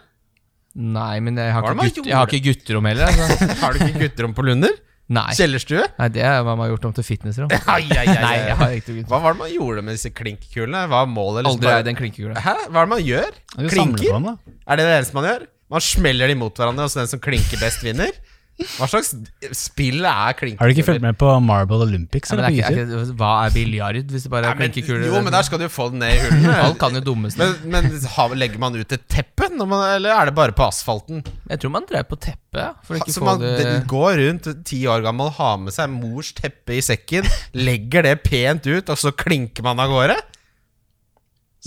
Nei, men jeg har
Hva er
ikke,
det man
gutt, jeg har
gjorde?
ikke gutterom heller. Altså.
Har du ikke gutterom på Lunder?
Nei.
Kjellerstue?
Nei, det er hva man har gjort om til fitnessrom.
Ai, ai, ai,
Nei,
ai.
jeg har ikke gutterom.
Hva var det man gjorde med disse klinkkulene? Hva er målet? liksom?
Aldri
Bare-
eid en klinkekule.
Hæ? Hva er det man gjør?
Du samler på
Klinker?
han, da.
Er det det eneste man gjør? Man smeller de mot hverandre, og så den som klinker best, vinner? Hva slags spill er klinkekuler?
Har du ikke fulgt med på Marble Olympics?
Nei,
Eller
men
på
det er
YouTube?
ikke, er ikke, hva er biljard hvis det bare
Nei,
er
men-
klinkekuler?
Jo, men der skal du jo få den ned i hullene.
Alt kan jo dummes ned.
Men, men har, legger man ut et teppe, når man, eller er det bare på asfalten?
Jeg tror man drev på teppet. ja, For å ikke
Så
få
Altså, man
det
d- går rundt ti år gammel, har med seg mors teppe i sekken, legger det pent ut, og så klinker man av gårde?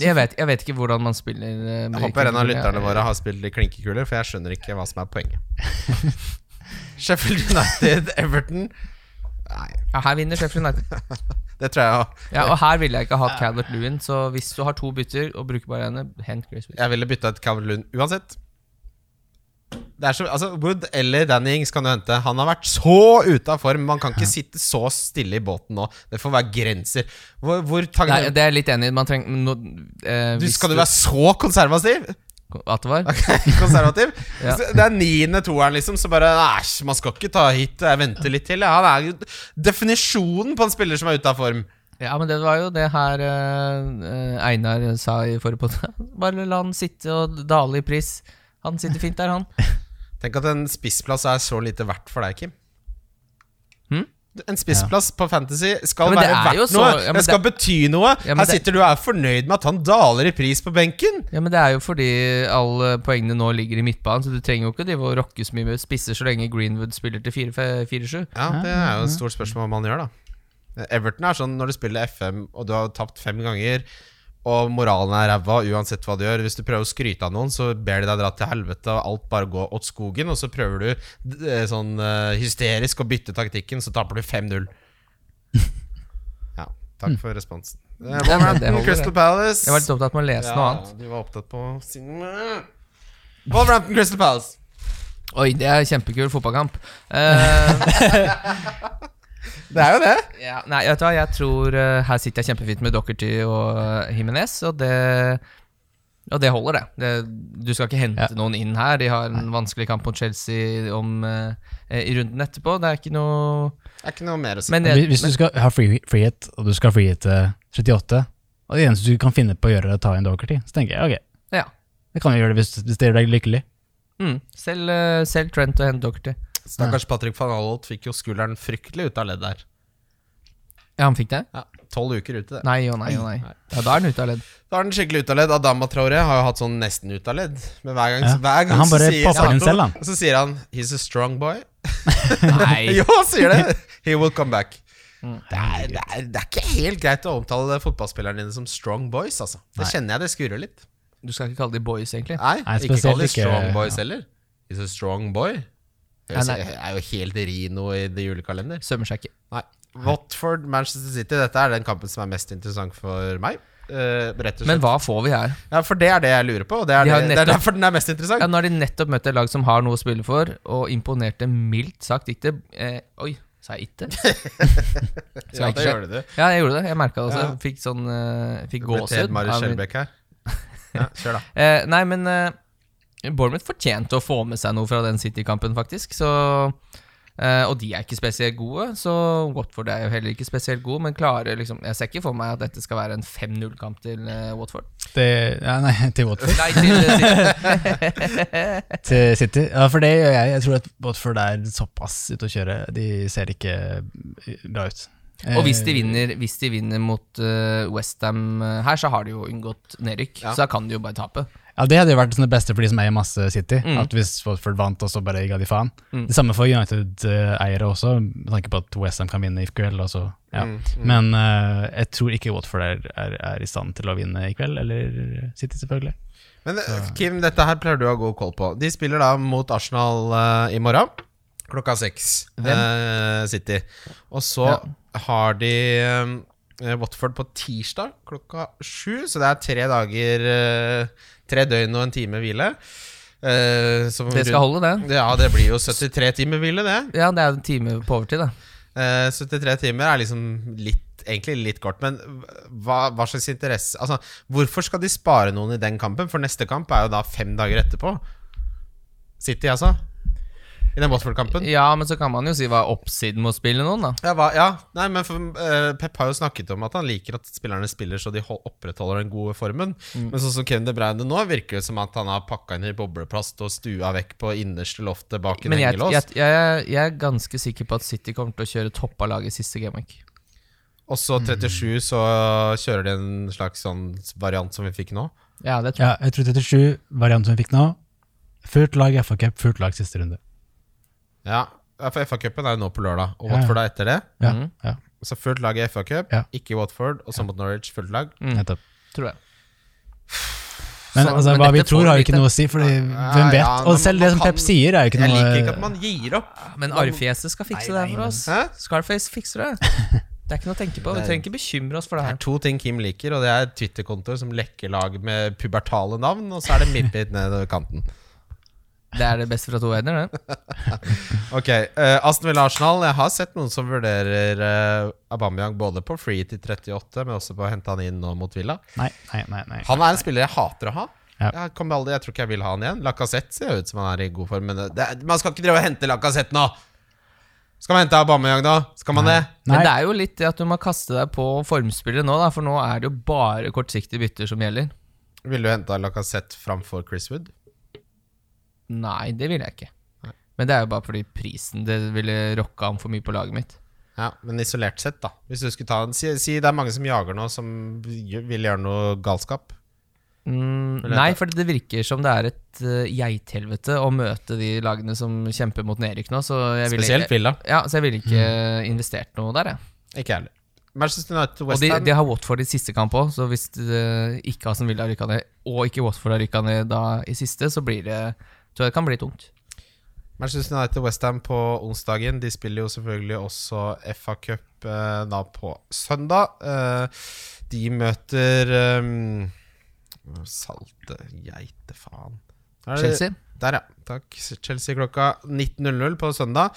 jeg vet, jeg vet ikke hvordan man spiller eh,
Jeg håper en av
klinkekuler.
lytterne våre har spilt i klinkekuler, for jeg skjønner ikke hva som er poenget. Sheffield United, Everton
Ja, her vinner Sheffield United.
Det tror jeg
Ja, og her ville jeg ikke hatt Calvert Lewin, så hvis du har to bytter og bruker bare ene, hent Grisby.
Jeg ville bytta ut Calvin Lund uansett. Det er så, altså Wood eller Danny Ings kan du hente. Han har vært så ute av form. Man kan ikke sitte så stille i båten nå. Det får være grenser. Hvor, hvor
Nei,
tangen,
det er jeg litt enig i. Man trenger men nå, eh,
du,
hvis
Skal du være så konservativ?
At det var?
konservativ?
Ja.
Så Det er niende toeren, liksom. Så bare Æsj, man skal ikke ta hit. Jeg venter litt til. Ja, han er jo definisjonen på en spiller som er ute av form.
Ja, men det var jo det her eh, eh, Einar sa i forrige podkast. Bare la han sitte og dale i pris. Han sitter fint der, han.
Tenk at en spissplass er så lite verdt for deg, Kim.
Hm?
En spissplass på Fantasy skal
Ja, men det
være
er jo
verdt
så-
noe.
ja, men
det skal bety noe.
Ja, men
Her
det-
sitter du og er fornøyd med at han daler i pris på benken.
Ja, men Det er jo fordi alle poengene nå ligger i midtbanen, så du trenger jo ikke drive og rocke så mye med spisser så lenge Greenwood spiller til 4-7.
Ja, Det er jo et stort spørsmål om han gjør, da. Everton er sånn når du spiller FM og du har tapt fem ganger, og moralen er ræva uansett hva du gjør. Hvis du prøver å skryte av noen, så ber de deg dra til helvete, og alt bare går åt skogen. Og så prøver du d- eh, sånn eh, hysterisk å bytte taktikken, så taper du 5-0. Ja. Takk for responsen. Eh,
Ja, men det
Wolverhampton,
holder,
Crystal Palace.
Jeg var litt opptatt med å lese noe annet.
de var opptatt på sin Wolverhampton Crystal Palace.
Oi, det er kjempekul fotballkamp. Eh,
Det er jo det.
ja, nei, vet du hva, jeg tror eh, her sitter jeg kjempefint med Dockerty og eh, Jimenez, og det Og det holder, det. det du skal ikke hente
Ja.
noen inn her. De har en vanskelig kamp mot Chelsea om, eh, eh, i runden etterpå. Det er ikke noe
Det er ikke noe mer å si.
Men
Men
jeg,
hvis- Hvis du skal ha free, free hit, og du skal ha free hit til 38, og det eneste du kan finne på å gjøre, er å ta inn Doherty, så tenker jeg ok,
ja.
det kan vi gjøre det hvis, hvis det gjør deg lykkelig.
Mm, selv, eh, selv Trent og hent Dockerty.
Stakkars Patrick van Alholt fikk jo skulderen fryktelig ut av ledd der.
Ja, han fikk det?
Ja, Tolv uker ute, det.
Nei og nei og nei. Ja, da er han ute av ledd.
Da er den skikkelig ute av ledd. Adama Traoré har jo hatt sånn nesten ut av ledd. Men hver gang,
Ja.
hver gang
Han
så
bare
sier
popper den
Sato-
selv, han.
Så sier han 'He's a strong boy'.
Nei. Mm.
jo, han sier det! He will come back. Det er, det, er, det er ikke helt greit å omtale fotballspillerne dine som strong boys, altså. Det kjenner jeg det skurrer litt.
Du skal ikke kalle de boys, egentlig.
Nei,
Nei,
ikke
spesielt
kall de
ikke-
strong boys heller. He's a strong boy. Det
Ja, nei.
er jo helt rino i det julekalender.
Sømmer seg ikke.
Nei. Watford, Manchester City, dette er den kampen som er mest interessant for meg. Eh, rett og slett.
Men hva får vi her?
Ja, for det er det jeg lurer på, og det er,
De har
det, det er
nettopp-
derfor den er mest interessant.
Ja, nå har de nettopp møtt et lag som har noe å spille for, og imponerte mildt sagt ikke eh, Oi, sa jeg ikke? Skal jeg ikke sjekke?
du.
Ja, jeg gjorde det. Jeg merka det også.
Ja.
Fikk sånn eh, Fikk
Ted
gåsehud.
Mari
av min-
Skjelbæk her. Ja, kjør, da.
Eh, nei, men eh, Bournemouth fortjente å få med seg noe fra den City-kampen, faktisk. Så, eh, og de er ikke spesielt gode, så Watford er jo heller ikke spesielt gode. Men klarer liksom Jeg ser ikke for meg at dette skal være en 5-0-kamp til eh, Watford.
Det, ja, nei, til Watford.
Nei, til eh, City.
Til City. Ja, for det gjør jeg. Jeg tror at Watford er såpass ute å kjøre. De ser ikke bra ut.
Og hvis
Eh.
de vinner, hvis de vinner mot uh, Westham her, så har de jo unngått nedrykk. Så da kan de jo bare tape.
Ja, Det hadde jo vært sånn det beste for de som eier masse City.
Mm.
At Hvis Watford vant, og så bare ga de faen. Det samme for United-eiere også, med tanke på at Westham kan vinne i kveld. og så- Ja.
Mm,
Men eh, jeg tror ikke Watford er, er, er i stand til å vinne i kveld, eller City, selvfølgelig.
Men eh, Kim, dette her pleier du å ha god koll på. De spiller da mot Arsenal eh, i morgen klokka seks. eh, City. Og så har de eh, Watford på tirsdag klokka sju, så det er tre dager eh, Tre døgn og en time hvile. Eh, som
Det skal holde, det.
Ja, det blir jo 73 timer hvile, det.
Ja, det er en time på overtid, da.
Eh, 73 timer er liksom litt Egentlig litt kort, men hva, hva slags interesse Altså, Hvorfor skal de spare noen i den kampen? For neste kamp er jo da fem dager etterpå. City, altså. I den Watford-kampen.
Ja, men så kan man jo si hva er oppsiden med å spille noen, da.
Ja, hva, ja. Nei, men for, eh, Pep har jo snakket om at han liker at spillerne spiller så de hold, opprettholder den gode formen.
Mm.
Men sånn som Kevin De Bruyne nå, virker det som at han har pakka inn i bobleplast og stua vekk på innerste loftet bak en
Men jeg,
hengelås.
jeg, jeg, jeg er ganske sikker på at City kommer til å kjøre topp av laget siste gameweek.
Og så 37, så kjører de en slags sånn variant som vi fikk nå.
Ja, det tror jeg.
Ja, jeg tror 37, varianten vi fikk nå. Fullt lag FA Cup, fullt lag siste runde.
Ja, ja, for FA-cupen er jo nå på lørdag, og
Ja, ja.
Watford er etter det.
Ja, ja
Så fullt lag i FA-cup,
Ja.
ikke Watford, og så mot Norwich, fullt lag.
nettopp.
Tror jeg.
Men
Så-
altså,
men
hva vi
dette får
tror, har jo
lite-
ikke noe å si, for hvem
Ja,
vet?
ja,
Og
men
selv
man
det som
kan-
Pep sier, er jo ikke
Jeg
noe
liker ikke at man gir opp.
Men arrfjeset skal fikse det her for oss.
Hæ?
Scarface fikser det. Det er ikke noe å tenke på. Vi trenger ikke bekymre oss for det
Det er
her.
to ting Kim liker, og det er Twitter-kontoer som lekker lag med pubertale navn, og så er det midtbit nedover kanten.
Det er det beste fra to verdener, det.
Ok, eh, Aston Villa Arsenal. Jeg har sett noen som vurderer eh, Aubameyang både på free til 38, men også på å hente han inn nå mot Villa.
Nei, nei, nei. nei.
Han er en spiller jeg hater å ha.
Ja.
Jeg, kommer aldri, jeg tror ikke jeg vil ha han igjen. Lacassette ser jo ut som han er i god form, men det, det, man skal ikke drive og hente Lacassette nå! Skal man hente Aubameyang nå? Skal man det?
Men
Nei.
det er jo litt det at du må kaste deg på formspillet nå, da, for nå er det jo bare kortsiktige bytter som gjelder.
Ville du henta Lacassette framfor Chris Wood?
Nei, det ville jeg ikke. Men det er jo bare fordi prisen det ville rocka om for mye på laget mitt.
Ja, Men isolert sett, da. Hvis du skulle ta en, si, si det er mange som jager nå, som gjør- vil gjøre noe galskap.
Mm,
Eller
nei,
dette-
for det virker som det er et eh, geithelvete å møte de lagene som kjemper mot nedrykk nå. Så jeg ville
Spesielt
ikke,
Villa.
ja, så jeg ville ikke investert noe der, jeg.
Ikke jeg heller. Manchester United
Og de,
Westham.
de har Watford i siste kamp òg, så hvis eh, ikke Aston Villa har rykka ned, og ikke Watford har rykka ned da i siste, så blir det tror jeg det kan bli tungt.
Manchester United Westham på onsdagen. De spiller jo selvfølgelig også FA Cup eh, da på søndag. Eh, de møter eh, Salte geitefaen. Er det-
Chelsea.
Der, ja. Takk. Chelsea klokka 19.00 på søndag.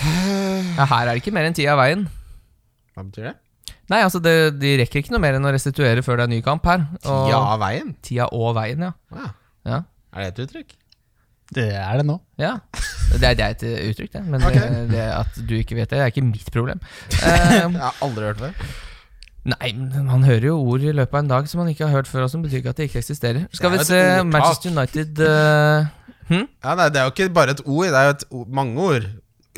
Ja, her er det ikke mer enn tida av veien.
Hva betyr det?
Nei, altså det, De rekker ikke noe mer enn å restituere før det er ny kamp her. Og
Tida av veien.
Tida og veien, ja.
Ja.
ja.
Er det et uttrykk?
Det er det nå.
Ja. Det er, det er et eh, uttrykk, det. Men
Ok.
det, det at du ikke vet det, er ikke mitt problem. Eh,
Jeg har aldri hørt det.
nei, men man hører jo ord i løpet av en dag som man ikke har hørt før, og som betyr ikke at det ikke eksisterer. Skal vi
Det er
se
jo et ordtak.
Manchester United eh, hm?
Ja, nei, det er jo ikke bare et ord, det er jo et ord, mange ord.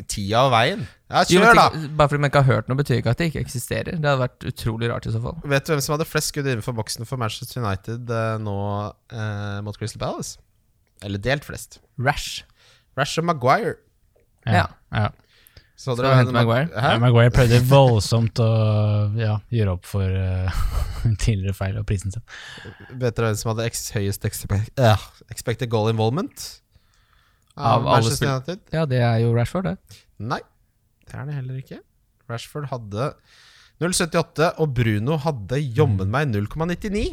Tida og veien. Ja,
Jo,
kjør,
men
da!
tenk- Bare fordi man ikke har hørt noe, betyr ikke at det ikke eksisterer. Det hadde vært utrolig rart i så fall.
Vet du hvem som hadde flest skudd innenfor boksen for Manchester United eh, nå eh, mot Crystal Palace? Eller delt flest.
Rash.
Rash og Maguire.
Ja.
ja.
Så
Skal vi hente Maguire?
Ja,
Hæ?
Maguire prøvde voldsomt å ja, gjøre opp for eh, tidligere feil og prisen sin.
Vet dere hvem som hadde ex høyest expe eh, expected goal involvement?
Av alle
Manchester
spill-
United?
Ja, det er jo Rashford, det.
Nei, det er det heller ikke. Rashford hadde 0,78, og Bruno hadde jommen meg 0,99.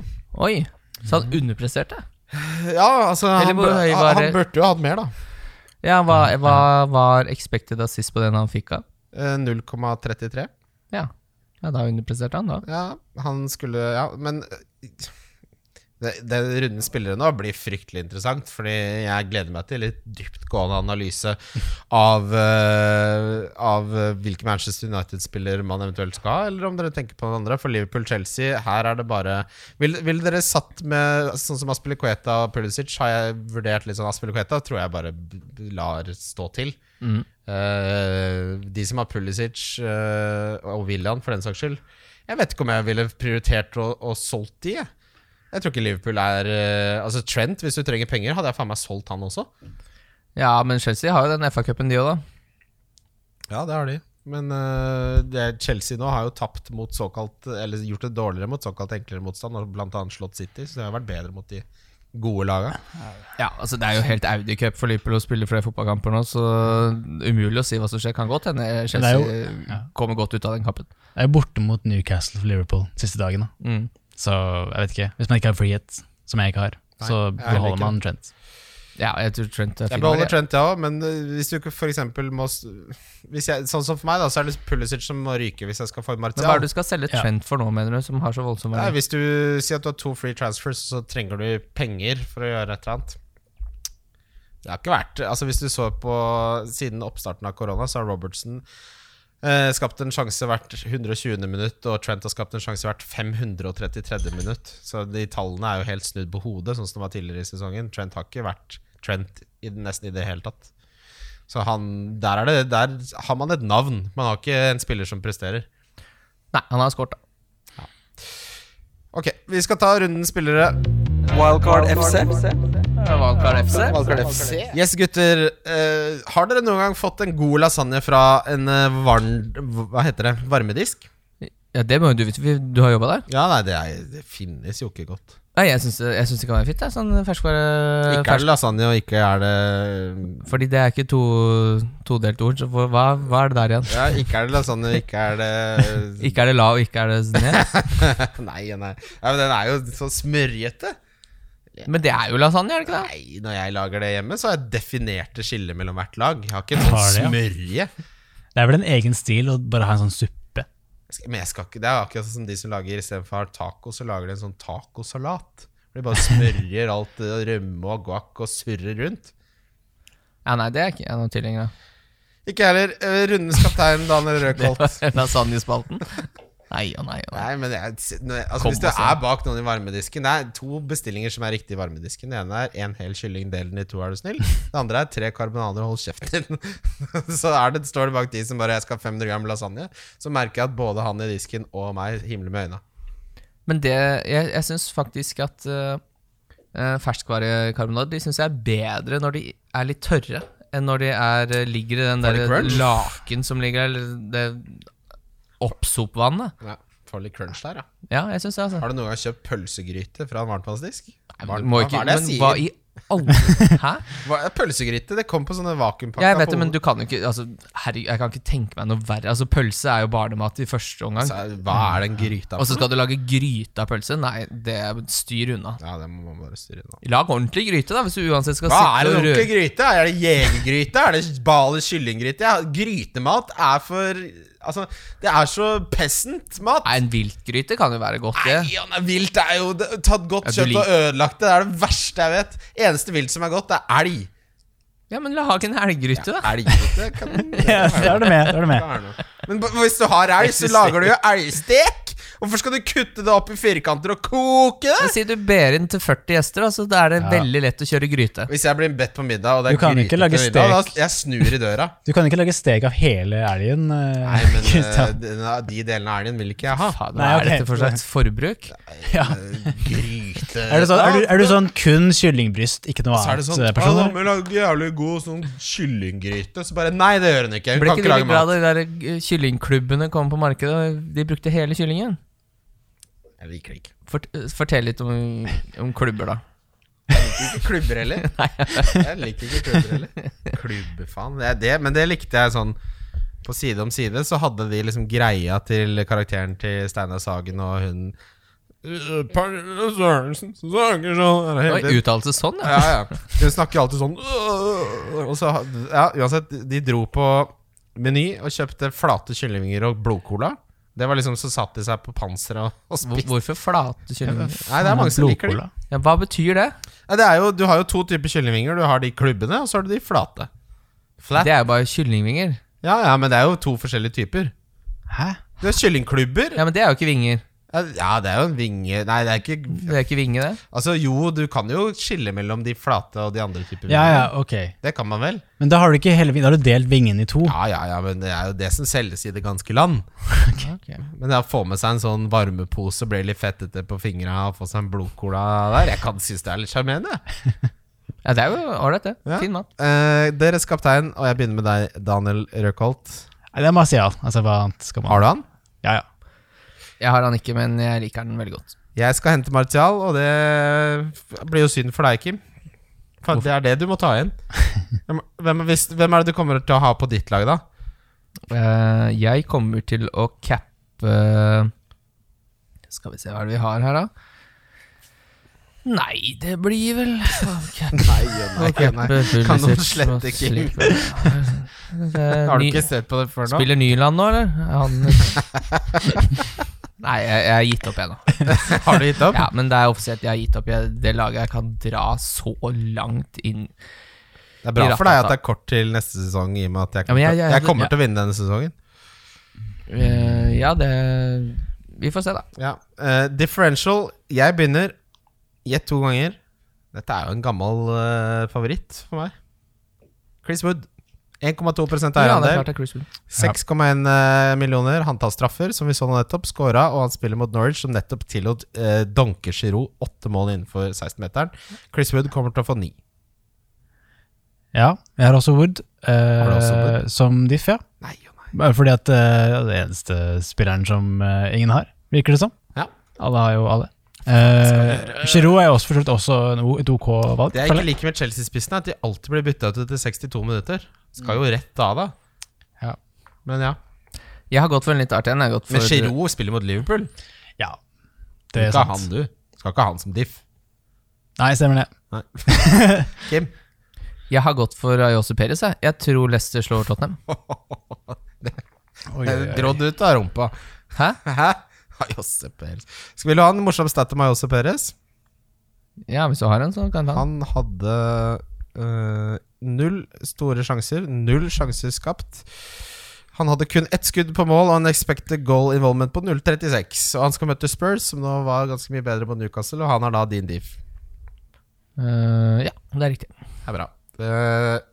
Oi. Så han underpresterte?
Ja, altså
Eller
han,
hvor
bur-
høy
han,
var
han
det?
burde jo hatt mer, da.
Ja, hva, hva var expected assist på den han fikk av?
Eh, 0,33.
Ja. ja, da underpresterte han, da.
Ja, han skulle Ja, men eh, det, det runden spillere nå blir fryktelig interessant, fordi jeg gleder meg til litt dyptgående analyse av, eh, av eh, hvilke Manchester United-spiller man eventuelt skal ha, eller om dere tenker på noen andre. For Liverpool-Chelsea, her er det bare Ville vil dere satt med sånn som Aspilicueta og Pulisic, har jeg vurdert litt sånn Aspilicueta, tror jeg bare b- b- lar stå til. Eh, de som har Pulisic eh, og William, for den saks skyld Jeg vet ikke om jeg ville prioritert å, å solgt de. Jeg. jeg tror ikke Liverpool er eh, Altså Trent, hvis du trenger penger, hadde jeg faen meg solgt han også.
Ja, men Chelsea har jo den FA-cupen, de òg, da.
Ja, det har de. Men eh, det Chelsea nå har jo tapt mot såkalt Eller gjort det dårligere mot såkalt enklere motstand, og blant annet slått City, så det har vært bedre mot de gode laga.
Ja, altså Det er jo helt Audi Cup for Liverpool å spille flere fotballkamper nå, så umulig å si hva som skjer. Kan godt hende Chelsea
jo- ja.
kommer godt ut av den kampen.
Jeg er borte mot Newcastle for Liverpool siste dagen. Da.
Mm.
Så jeg vet ikke. Hvis man ikke har frihet, som jeg ikke har, så
jeg heller ikke.
beholder man Trent.
Ja, jeg tror Trent er
Jeg
fin.
beholder
valg, jeg.
Trent, jeg ja, òg, men eh, hvis du ikke for eksempel må s- hvis jeg, Sånn som for meg, da, så er det Pulisic som må ryke hvis jeg skal få
Men Hva er
Martial.
det du skal selge
Ja.
Trent for nå, mener du, som har så voldsom
Nei,
verdi?
hvis du sier at du har to free transfers, så trenger du penger for å gjøre et eller annet. Det har ikke vært Altså Hvis du så på siden oppstarten av korona, så har Robertson eh, skapt en sjanse hvert 120. minutt, og Trent har skapt en sjanse hvert 533. minutt. Så de tallene er jo helt snudd på hodet, sånn som det var tidligere i sesongen. Trent har ikke vært Trent i, nesten i det hele tatt. Så han, der, er det, der har man et navn. Man har ikke en spiller som presterer.
Nei, han har skåret, da.
Ok, vi skal ta runden spillere.
Wildcard FC.
Valgkar FC.
Yes, gutter. Eh, har dere noen gang fått en god lasagne fra en eh, varm... Hva heter det? Varmedisk?
Ja, det må jo du vite, for du har jobba der?
Ja, nei, det, er, det finnes jo ikke godt.
Nei, jeg syns, jeg syns det kan være fint, jeg. Sånn ferskvare...
Ikke er det lasagne, og ikke er det
Fordi det er ikke to todelt ord, så hvor- hva, hva er det der igjen?
Ja, ikke er det lasagne, ikke er det
Ikke er det la, og ikke er det ned.
Nei, nei. Ja, men den er jo så smørjete.
Men det er jo lasagne, er det ikke det?
Nei, når jeg lager det hjemme, så har jeg definerte skiller mellom hvert lag. Jeg har ikke en
Har
sånn
det, ja.
smørje.
Det er vel en egen stil å bare ha en sånn suppe.
Jeg skal- Men jeg skal ikke, det er akkurat sånn som de som lager istedenfor taco, så lager de en sånn tacosalat. Hvor de bare smørjer alt det, og rømme og guac og surrer rundt.
Ja, nei, det er ikke jeg noen tilhenger av.
Ikke jeg heller. Eh, Rundens kaptein, Daniel Røkholt.
Lasagnespalten. Nei og nei og nei.
Nei, men jeg, når- altså,
Kom
Hvis du
og se.
er bak noen i varmedisken Det er to bestillinger som er riktig i varmedisken. Det ene er en hel kylling, del den i to, er du snill. Det andre er tre karbonader, hold kjeften din. Så er det, står det bak de som bare 'jeg skal ha 500 gram lasagne', så merker jeg at både han i disken og meg himler med øynene.
Men det, jeg, jeg syns faktisk at uh, ferskvarekarbonader De syns jeg er bedre når de er litt tørre, enn når de er, eh, ligger i den
Får
der
de crunch?
laken som ligger der, eller det oppsopvannet.
Ja, får litt crunch der, ja.
Ja, jeg syns det, altså.
Har du noen gang kjøpt pølsegryte fra en varmtvannsdisk?
Du må ikke,
hva er det jeg
men
sier?
hva i alle Hæ?
Hva- Pølsegryte, det kom på sånne vakuumpakka
Jeg vet det,
på-
men du kan jo ikke altså, Herregud, jeg kan ikke tenke meg noe verre. Altså, Pølse er jo barnemat i første omgang.
Så er- Hva er den gryta
Og så skal du lage gryte av pølse? Nei, det er- styr unna.
Ja, det må man bare styre unna.
Lag ordentlig gryte, da, hvis du uansett skal
Hva er
sitte
en
og
ordentlig
røre.
gryte? Er det jegergryte? Er det Bali kyllinggryte? Ja, grytemat er for Altså, det er så peasant mat.
Nei, en viltgryte kan jo være godt,
Nei,
det.
ja, nei, vilt er jo det- tatt godt
Ja, du
kjøtt og ødelagt det. Det er det verste jeg vet. Eneste vilt som er godt, er elg.
Ja, men lag en helggryte, da.
Elggryte kan det
Ja, da er du med. Da er du med.
kan være noe. Men b- hvis du har elg, så lager du jo elgstek. Hvorfor skal du kutte det opp i firkanter og koke det?
Men Si du ber inn til 40 gjester, da, så da er det veldig lett å kjøre gryte.
Hvis jeg blir bedt på middag, og det er
Du kan ikke
gryte
lage
til middag,
stek.
da jeg snur i døra.
Du kan ikke lage stek av hele elgen. eh,
Nei, men eh,
Kristian.
de- de delene av elgen vil ikke jeg ha. Eh,
Faen,
Nei,
hva er
ok.
dette for slags forbruk?
ja.
Gryte
er, du sånn, er, du, er du sånn kun kyllingbryst, ikke noe
Så er det
annet?
sånn
eh,
«Ja,
person,
da
eller?
må vi lage jævlig god sånn kyllinggryte. Så bare Nei, det gjør hun ikke. Hun
Ble
kan
ikke
ikke
det litt
lage
bra
mat.
da de der eh, kyllingklubbene kom på markedet, og de brukte hele kyllingen?
Jeg liker det ikke.
Fort, eh, fortell litt om, om klubber, da.
Ikke klubber heller. Jeg liker ikke klubber heller. Klubbfaen. Det er det, men det likte jeg sånn På Side om side så hadde de liksom greia til karakteren til Steinar Sagen og hun «Øh, Per Sørensen snakker sånn Hele
Oi,
tiden.
uttalelse sånn, ja.
Ja, ja. Hun snakker jo alltid sånn «Åh!» Og så, ja, uansett, de dro på Meny og kjøpte flate kyllingvinger og blodcola. Det var liksom, Så satt de seg på panseret og, og
Hvor-
spiste.
Hvorfor flate kyllinger?
Nei, det er mange som liker det.
Blodcola.
Ja, hva betyr det?
Nei, det er jo, du har jo to typer kyllingvinger. Du har de klubbene, og så har du de flate. Flat.
Det er jo bare kyllingvinger.
Ja, ja, men det er jo to forskjellige typer.
Hæ?
Du har kyllingklubber.
Ja, Men det er jo ikke vinger.
Ja, det er jo en vinge Nei, det er ikke
Det er ikke vinge, det.
Altså, jo, du kan jo skille mellom de flate og de andre typer
Ja, ja,
vinger.
ok.
Det kan man vel?
Men da har du ikke hele vingen, da har du delt vingen i to.
Ja, ja, ja, men det er jo det som selges i det ganske land. Ah, Men jeg får med seg en sånn varmepose, blir litt fettete på fingra og får seg en blodcola der. Jeg kan synes det er litt sjarmerende.
Ja, det er jo ålreit, det.
Ja.
Fin mat.
Eh, deres kaptein, og jeg begynner med deg, Daniel Røkholt.
Nei, det er Marcial. Altså, hva annet skal man
Har du han?
Ja, ja.
Jeg har han ikke, men jeg liker den veldig godt.
Jeg skal hente Martial, og det blir jo synd for deg, Kim. For det er det du må ta igjen. Hvem, hvem, hvis, hvem er det du kommer til å ha på ditt lag, da?
Eh, jeg kommer til å cappe Skal vi se hva er det vi har her, da? Nei, det blir vel
Nei, nei, Kan noen slette Kim? Har
Har
du ikke sett på det før nå?
Eh, Spiller Nyland nå, eller? Han Nei, jeg, jeg har gitt opp, jeg, nå.
Har du gitt opp?
Ja, men det er offisielt. Jeg har gitt opp. Jeg, det laget jeg kan dra så langt inn
Det er bra
i
for deg
ratata.
at det er kort til neste sesong, i og med at jeg
Ja, men
kommer,
jeg-
til-
jeg-
jeg kommer
ja.
til å vinne denne sesongen.
Eh, Ja, det Vi får se, da.
Ja. eh, differential. Jeg begynner. Gjett to ganger. Dette er jo en gammel eh, favoritt for meg. Chris Wood. 1,2
Ja, det er
eierandel.
klart det er Chris Wood.
6,1 eh, millioner. Han tar straffer, som vi så nå nettopp. Skåra, og han spiller mot Norwich, som nettopp tillot uh, Donke Giroud åtte mål innenfor 16-meteren. Chris Wood kommer til å få ni.
Ja, jeg har også Wood, eh,
du også Wood?
som diff, ja.
Nei og nei.
Bare fordi at eh, det er den eneste spilleren som eh, ingen har, virker det som.
Ja.
Alle har jo alle. Eh, Giroud er jo også for så vidt også en o- et ok valg.
Det jeg
føler
ikke liker med Chelsea-spissene, er at de alltid blir bytta ut etter 62 minutter. Skal jo rett av, da.
Ja.
Men ja.
Jeg har gått for en litt artig en. Jeg har gått for
Men Giroud spiller mot Liverpool.
jeg. Ja, det er
ikke han,
sant.
du. Skal ikke ha han som diff.
Nei, stemmer det.
Kim?
Jeg har gått for Ayose Perez. Jeg. jeg tror Leicester slår Tottenham.
Oi, oi, oi.
Grådd ut av rumpa.
Hæ?
Hæ? Jose Perez. Skal vi la en morsom stat om Jose Perez?
Ja, hvis du har en, så kan du ta den.
Han hadde eh, øh, null store sjanser, null sjanser skapt. Han hadde kun ett skudd på mål og en expected goal involvement på 0,36. Og han skal møte Spurs, som nå var ganske mye bedre på Newcastle, og han er da din div.
Eh, ja, det er riktig.
Det er bra. Det-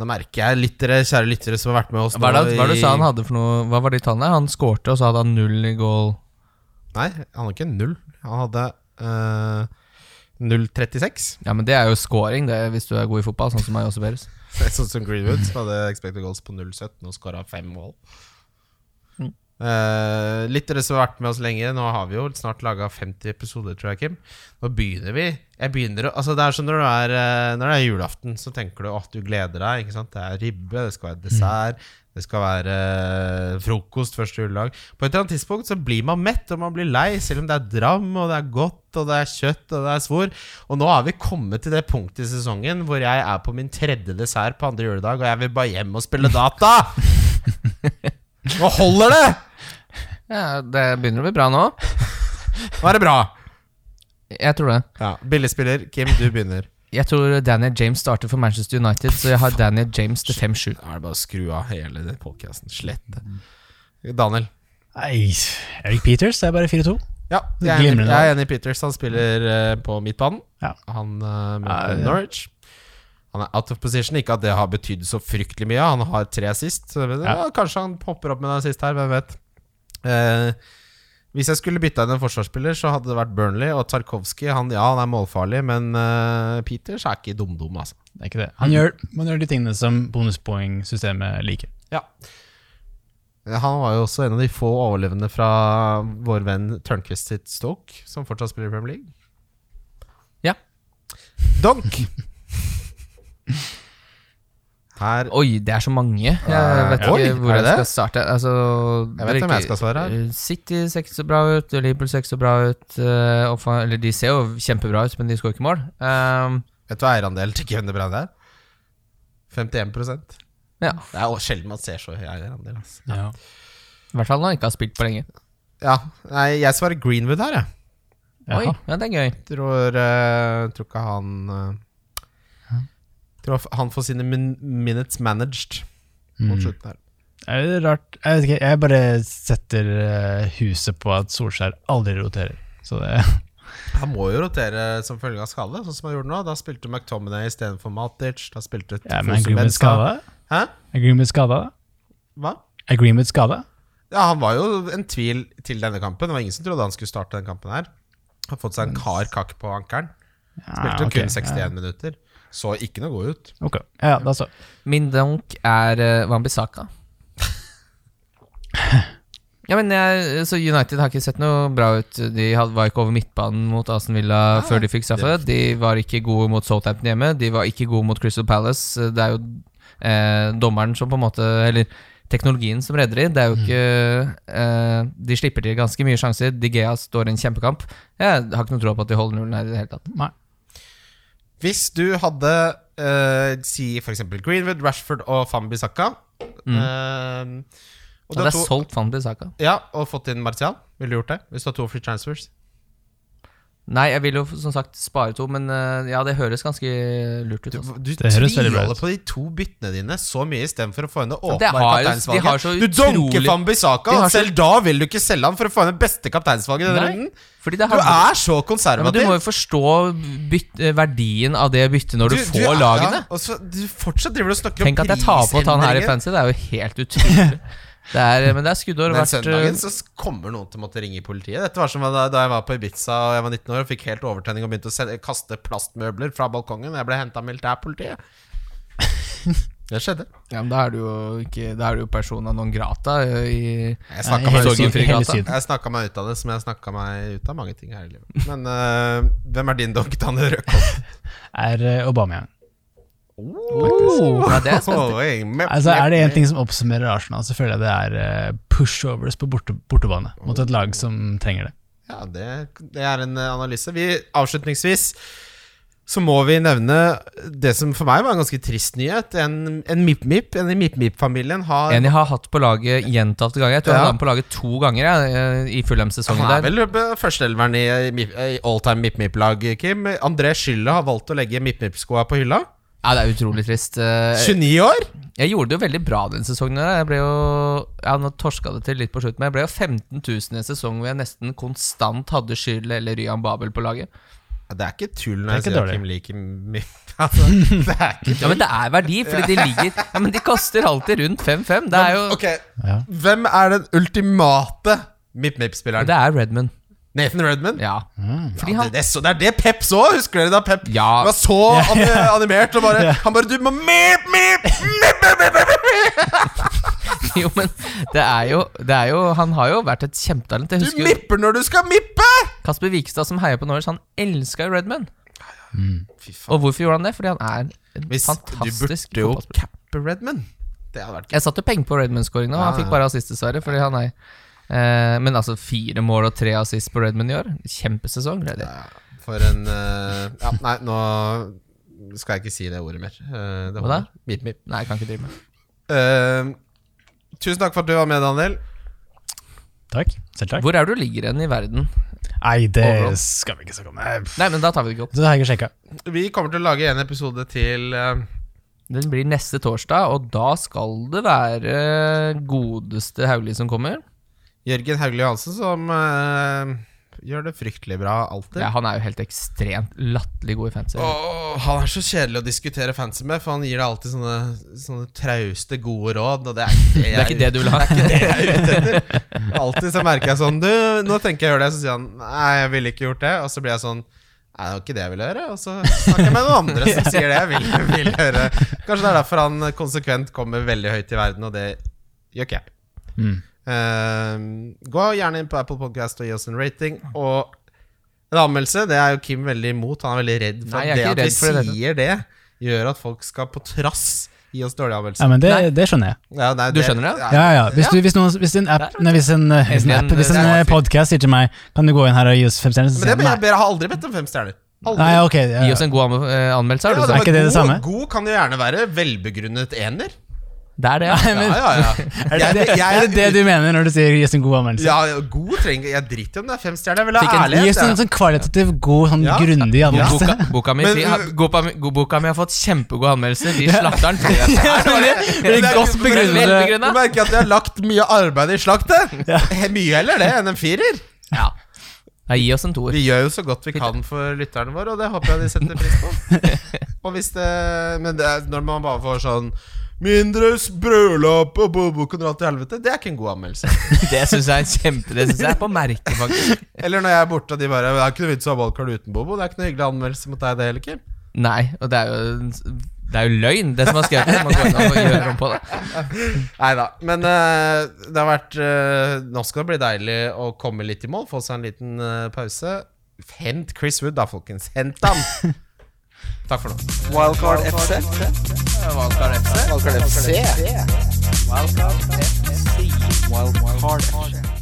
Nå merker jeg lyttere, kjære lyttere som har vært med oss
Hva, er det,
nå
hva er det du sa han
i-
hadde for noe Hva var de tallene? der? Han skårte, og så hadde han null i goal.
Nei, han hadde ikke null. Han hadde eh, 0,36.
Ja, men det er jo scoring, det, hvis du er god i fotball, sånn som meg også, Perez.
Det er Sånn som Greenwood, som hadde expected goals på 0,17 og skåra fem mål. Eh, lyttere som har vært med oss lenge, nå har vi jo snart laga 50 episoder, tror jeg, Kim. Nå begynner vi. Jeg begynner, å- altså Det er som når det er, eh, når det er julaften, så tenker du at du gleder deg. ikke sant? Det er ribbe, det skal være dessert, det skal være eh, frokost første juledag. På et eller annet tidspunkt så blir man mett og man blir lei, selv om det er dram og det er godt og det er kjøtt og det er svor. Og nå har vi kommet til det punktet i sesongen hvor jeg er på min tredje dessert på andre juledag, og jeg vil bare hjem og spille data! Nå holder det!
Ja, det begynner å bli bra nå.
Nå er det bra.
Jeg tror det.
Ja, Billigspiller, Kim, du begynner.
Jeg tror Daniel James starter for Manchester United, så jeg har Daniel James til 5-7.
Da er det bare å skru av hele den podkasten. Slett det. Daniel.
Nei, Eric Peters er bare 4-2.
Ja, jeg er, enig,
Glimrende.
jeg er enig i Peters. Han spiller eh, på midtbanen.
Ja.
Han uh,
Ja, ja.
Norwich. Han er out of position. Ikke at det har betydd så fryktelig mye. Han har tre assist. Så, men, ja.
Ja.
kanskje han popper opp med en assist her, hvem vet. Eh, hvis jeg skulle bytta inn en forsvarsspiller, så hadde det vært Burnley og Tarkovskij. Han, ja, han er målfarlig, men eh, Peters er ikke dum-dum, altså.
Det er ikke det. Han gjør, man gjør de tingene som bonuspoengsystemet liker.
Ja. Eh, Han var jo også en av de få overlevende fra vår venn Tørnquist sitt Stoke, som fortsatt spiller i Premier League.
Ja.
Donk! Her
Oi, det er så mange. Jeg vet
Oi,
ikke hvor
er
jeg
det
skal
det?
starte. Altså,
Jeg vet
det er
hvem
ikke-
jeg skal svare her.
City ser ikke så bra ut, Liverpool ser ikke så bra ut. eh, oppfa- eller de ser jo kjempebra ut, men de skårer ikke mål. Ehm,
Vet du hva eierandelen til Kevin De Bruyne er? 51
ja,
Det er jo sjelden man ser så høy eierandel. Altså.
Ja.
I hvert fall når han ikke har spilt på lenge.
Ja, nei, jeg svarer Greenwood her, jeg.
Oi, ja, det er gøy.
Tror, eh, tror ikke han eh, Tror han får sine min minutes managed
Mm.
mot slutten her.
Er det rart? Jeg vet ikke, jeg bare setter eh, huset på at Solskjær aldri roterer. Så det
Han må jo rotere som følge av skade, sånn som han gjorde nå. Da spilte McTominay istedenfor Matic. Da spilte
ja, men er
Fosu
Greenwood
Mensa.
skada?
Hæ?
Er Greenwood skada?
Hva?
Er Greenwood skada?
Ja, han var jo en tvil til denne kampen. Det var ingen som trodde han skulle starte den kampen her. Har fått seg en kar kakk på ankelen. Spilte
Ah,
jo kun 61 minutter. Så ikke noe god ut.
Ja, ok. ja, da så.
Min donk er uh, Wambisaka. Ja, men jeg, så United har ikke sett noe bra ut. De had, var ikke over midtbanen mot Aston Villa før de fikk straffe. De var ikke gode mot Southampton hjemme. De var ikke gode mot Crystal Palace. Det er jo eh, dommeren som på en måte Eller teknologien som redder de. Det er jo ikke eh, De slipper til ganske mye sjanser. Digea står i en kjempekamp. Jeg har ikke noe tro på at de holder nullen her i det hele tatt.
Nei.
Hvis du hadde eh, si for eksempel Greenwood, Rashford og Fambi Sakka
Mm.
eh, og
Og
du
det
har
er
to,
solgt Wambisaka.
ja, og fått inn Martial, ville du gjort det? Hvis du har to free transfers?
Nei, jeg vil jo som sagt spare to, men eh, ja, det høres ganske lurt ut.
Du,
Altså.
du
Det høres veldig bra
tviholder
ut.
på de to byttene dine så mye istedenfor å få henne
det
åpne
har jo- de har
kapteinsvalget.
så
Du donker
utrolig-
Fambisaka,
De har
og
så-
selv da vil du ikke selge ham for å få henne beste kapteinsvalget i denne
Nei,
runden.
fordi
Du
det handler-
er så
ja, men du
konservativ.
må jo forstå byt, eh, verdien av det byttet når du,
du
får
er-
lagene.
ja, og så, du fortsatt driver du og snakker
Tenk
om
at jeg tar på at han her i fancy, det er jo helt utrolig. Det er, eh, men det er skuddår
Men
hvert
søndagen
eh,
så kommer noen til å måtte ringe politiet. Dette var som da, da jeg var på Ibiza og jeg var 19 år og fikk helt overtenning og begynte å sende, kaste plastmøbler fra balkongen. Jeg ble henta av militærpolitiet. Det skjedde.
ja, men Da er du jo ikke Da er du jo persona non grata eh, i
Jeg
Nei,
snakka
i
meg,
hele
Torgen
Syden- i hele
Frigata.
Syden.
Jeg snakka meg ut av det, som jeg snakka meg ut av mange ting her i livet. Men eh, hvem er din dog, Daniel Røkholt?
Er eh, Aubameyang.
oh, ja, det er spennende.
Oi, mep,
Altså, er det
mep,
én ting som oppsummerer Arsenal, så føler jeg det er eh, pushovers på borte, bortebane mot et lag som trenger det.
mep. Ja, det, det er en eh, analyse. Vi, avslutningsvis så må vi nevne det som for meg var en ganske trist nyhet. En, en MIP-MIP, en i MIP-MIP-familien har
En jeg har hatt på laget gjentatte ganger. Jeg tror jeg
Ja.
hadde han på laget to ganger jeg, eh, i Fulham-sesongen
Han er
der.
vel eh, førsteelveren i, eh, Mip- eh, i all time MIP-MIP-lag, Kim. André Skylla har valgt å legge MIP-MIP-skoa på hylla.
Ja, det er utrolig trist. Eh,
29 år?
Jeg gjorde det jo veldig bra den sesongen. her. Jeg ble jo, ja, Nå torska det til litt på slutten, men jeg ble jo 15 000 i en sesong hvor jeg nesten konstant hadde Schürrle eller Ryan Babel på laget.
Ja, det er ikke tull når
Det er
jeg
ikke
sier at
dårlig.
Kim liker mye altså, Det er ikke
Ja, Men det er verdi, fordi de ligger Ja, men de kaster alltid rundt 5-5. Det er jo
Ok,
Ja.
Hvem er den ultimate MipMip-spilleren?
Det er Redman.
Nathan Redman?
Ja.
Mm,
Fordi
Ja,
han
det, det, er så, det er det Pep så! Husker dere da Pep
Ja.
var så an animert? Og bare, Han bare Du må mip, mip, mip, mip, mip, mip, mip.
Jo, men det er jo, det er jo Han har jo vært et kjempetalent. Jeg
Du
husker jo
mipper når du skal mippe!
Kasper Vikestad som heier på Norwich, han elska jo Redman.
Fy faen.
Og hvorfor gjorde han det? Fordi han er en
Hvis
fantastisk
du burde jo
fotballspiller.
cappe Redman. Det hadde vært gøy.
Jeg satte penger på Redmond-skåringa, og han
Ja,
fikk
ja.
bare assist, dessverre. Fordi han er eh, Men altså, fire mål og tre assist på Redmond i år. Kjempesesong. Det er det.
Ja, For en eh, Ja, nei, nå skal jeg ikke si det ordet mer. Eh, det
Hva da?
holder. Mip, mip.
Nei, jeg kan ikke drive med
Eh, tusen takk for at du var med, Daniel.
Takk. Selv takk.
Hvor er du ligger hen i verden?
Nei, det
Overall.
skal vi ikke snakke om. Nei, pff.
Nei, men da tar vi det ikke opp.
Så det har jeg ikke sjekka.
Vi kommer til å lage en episode til eh,
Den blir neste torsdag, og da skal det være eh, godeste Hauglie som kommer.
Jørgen Hauglie Johansen, som eh, gjør det fryktelig bra alltid.
Ja, han er jo helt ekstremt latterlig god i fancy.
Åh, han er så kjedelig å diskutere fancy med, for han gir deg alltid sånne, sånne trauste, gode råd. Og det er ikke det
Det er ikke det du vil ha.
Alltid så merker jeg sånn Du, nå tenker jeg å gjøre det. Så sier han nei, jeg ville ikke gjort det. Og så blir jeg sånn Nei, det var ikke det jeg ville gjøre. Og så snakker jeg med noen andre som sier det jeg vil, vil gjøre. Kanskje det er derfor han konsekvent kommer veldig høyt i verden, og det gjør ikke jeg.
Mm.
Ehm, gå gjerne inn på Apple Podcast og gi oss en rating. Og en anmeldelse, det er jo Kim veldig imot. Han er veldig redd for
Nei,
at
jeg er
det at
ikke
vi
redd for det.
sier det, gjør at folk skal på trass gi oss dårlige anmeldelser.
Ja, men det,
Nei.
det skjønner jeg.
Ja, nei,
Du skjønner det?
ja.
Ja, ja. Hvis, du, hvis, noen, hvis en app, nei, hvis en, eh, hvis en, app, hvis en
Det er
eh,
fint.
podcast sier til meg Kan du gå inn her og gi oss fem stjerner, så
Men
sier
det,
jeg
jeg,
nei.
jeg har aldri bedt om fem stjerner. Aldri.
Nei, ok. Ja,
Gi
ja.
oss en god anme- eh, anmeldelse,
Ja,
har du
det
Er
sagt.
var
ikke det det
god-
samme?
God kan jo gjerne være velbegrunnet ener.
Det er det, ja.
Ja, ja, ja. Jeg,
Er det- Er det det du mener når du sier gi oss en god anmeldelse?
Ja, ja, god trenger Jeg driter i om det er fem stjerner. Jeg vil
Fikk
ha
en-
ærlighet.
Gi oss en
jeg.
sånn kvalitativ, god, sånn
Ja.
grundig anmeldelse.
Boka, boka, mi,
Men-
sier- ha- boka, mi- go- boka mi har fått kjempegode anmeldelser. De slakter den.
Det er godt begrunnet.
Du merker at jeg har lagt mye arbeid i slaktet. Mye heller det enn en firer.
Ja. Nei, gi oss en toer.
Vi gjør jo så godt vi kan for lytterne våre, og det håper jeg de setter pris på. Og hvis det, men det er når man bare får sånn Mindre brødlapp og bobokonrad til helvete, det er ikke en god anmeldelse.
Det syns jeg er kjempe Det synes jeg er på merket, faktisk.
Eller når jeg er borte og de bare Det er ikke noe vits å ha valgkart uten Bobo. Det er ikke noe hyggelig anmeldelse mot deg, det heller, Kim.
Nei, og det er jo Det er jo løgn, det som er skrevet. Man går inn og gjør om på det.
Nei da. Men eh, det har vært eh, Nå skal det bli deilig å komme litt i mål, få seg en liten eh, pause. Hent Chris Wood, da, folkens. Hent ham! Takk for nå.
Wildcard FC. Wildcard FC. Wildcard FC. Wildcard FC.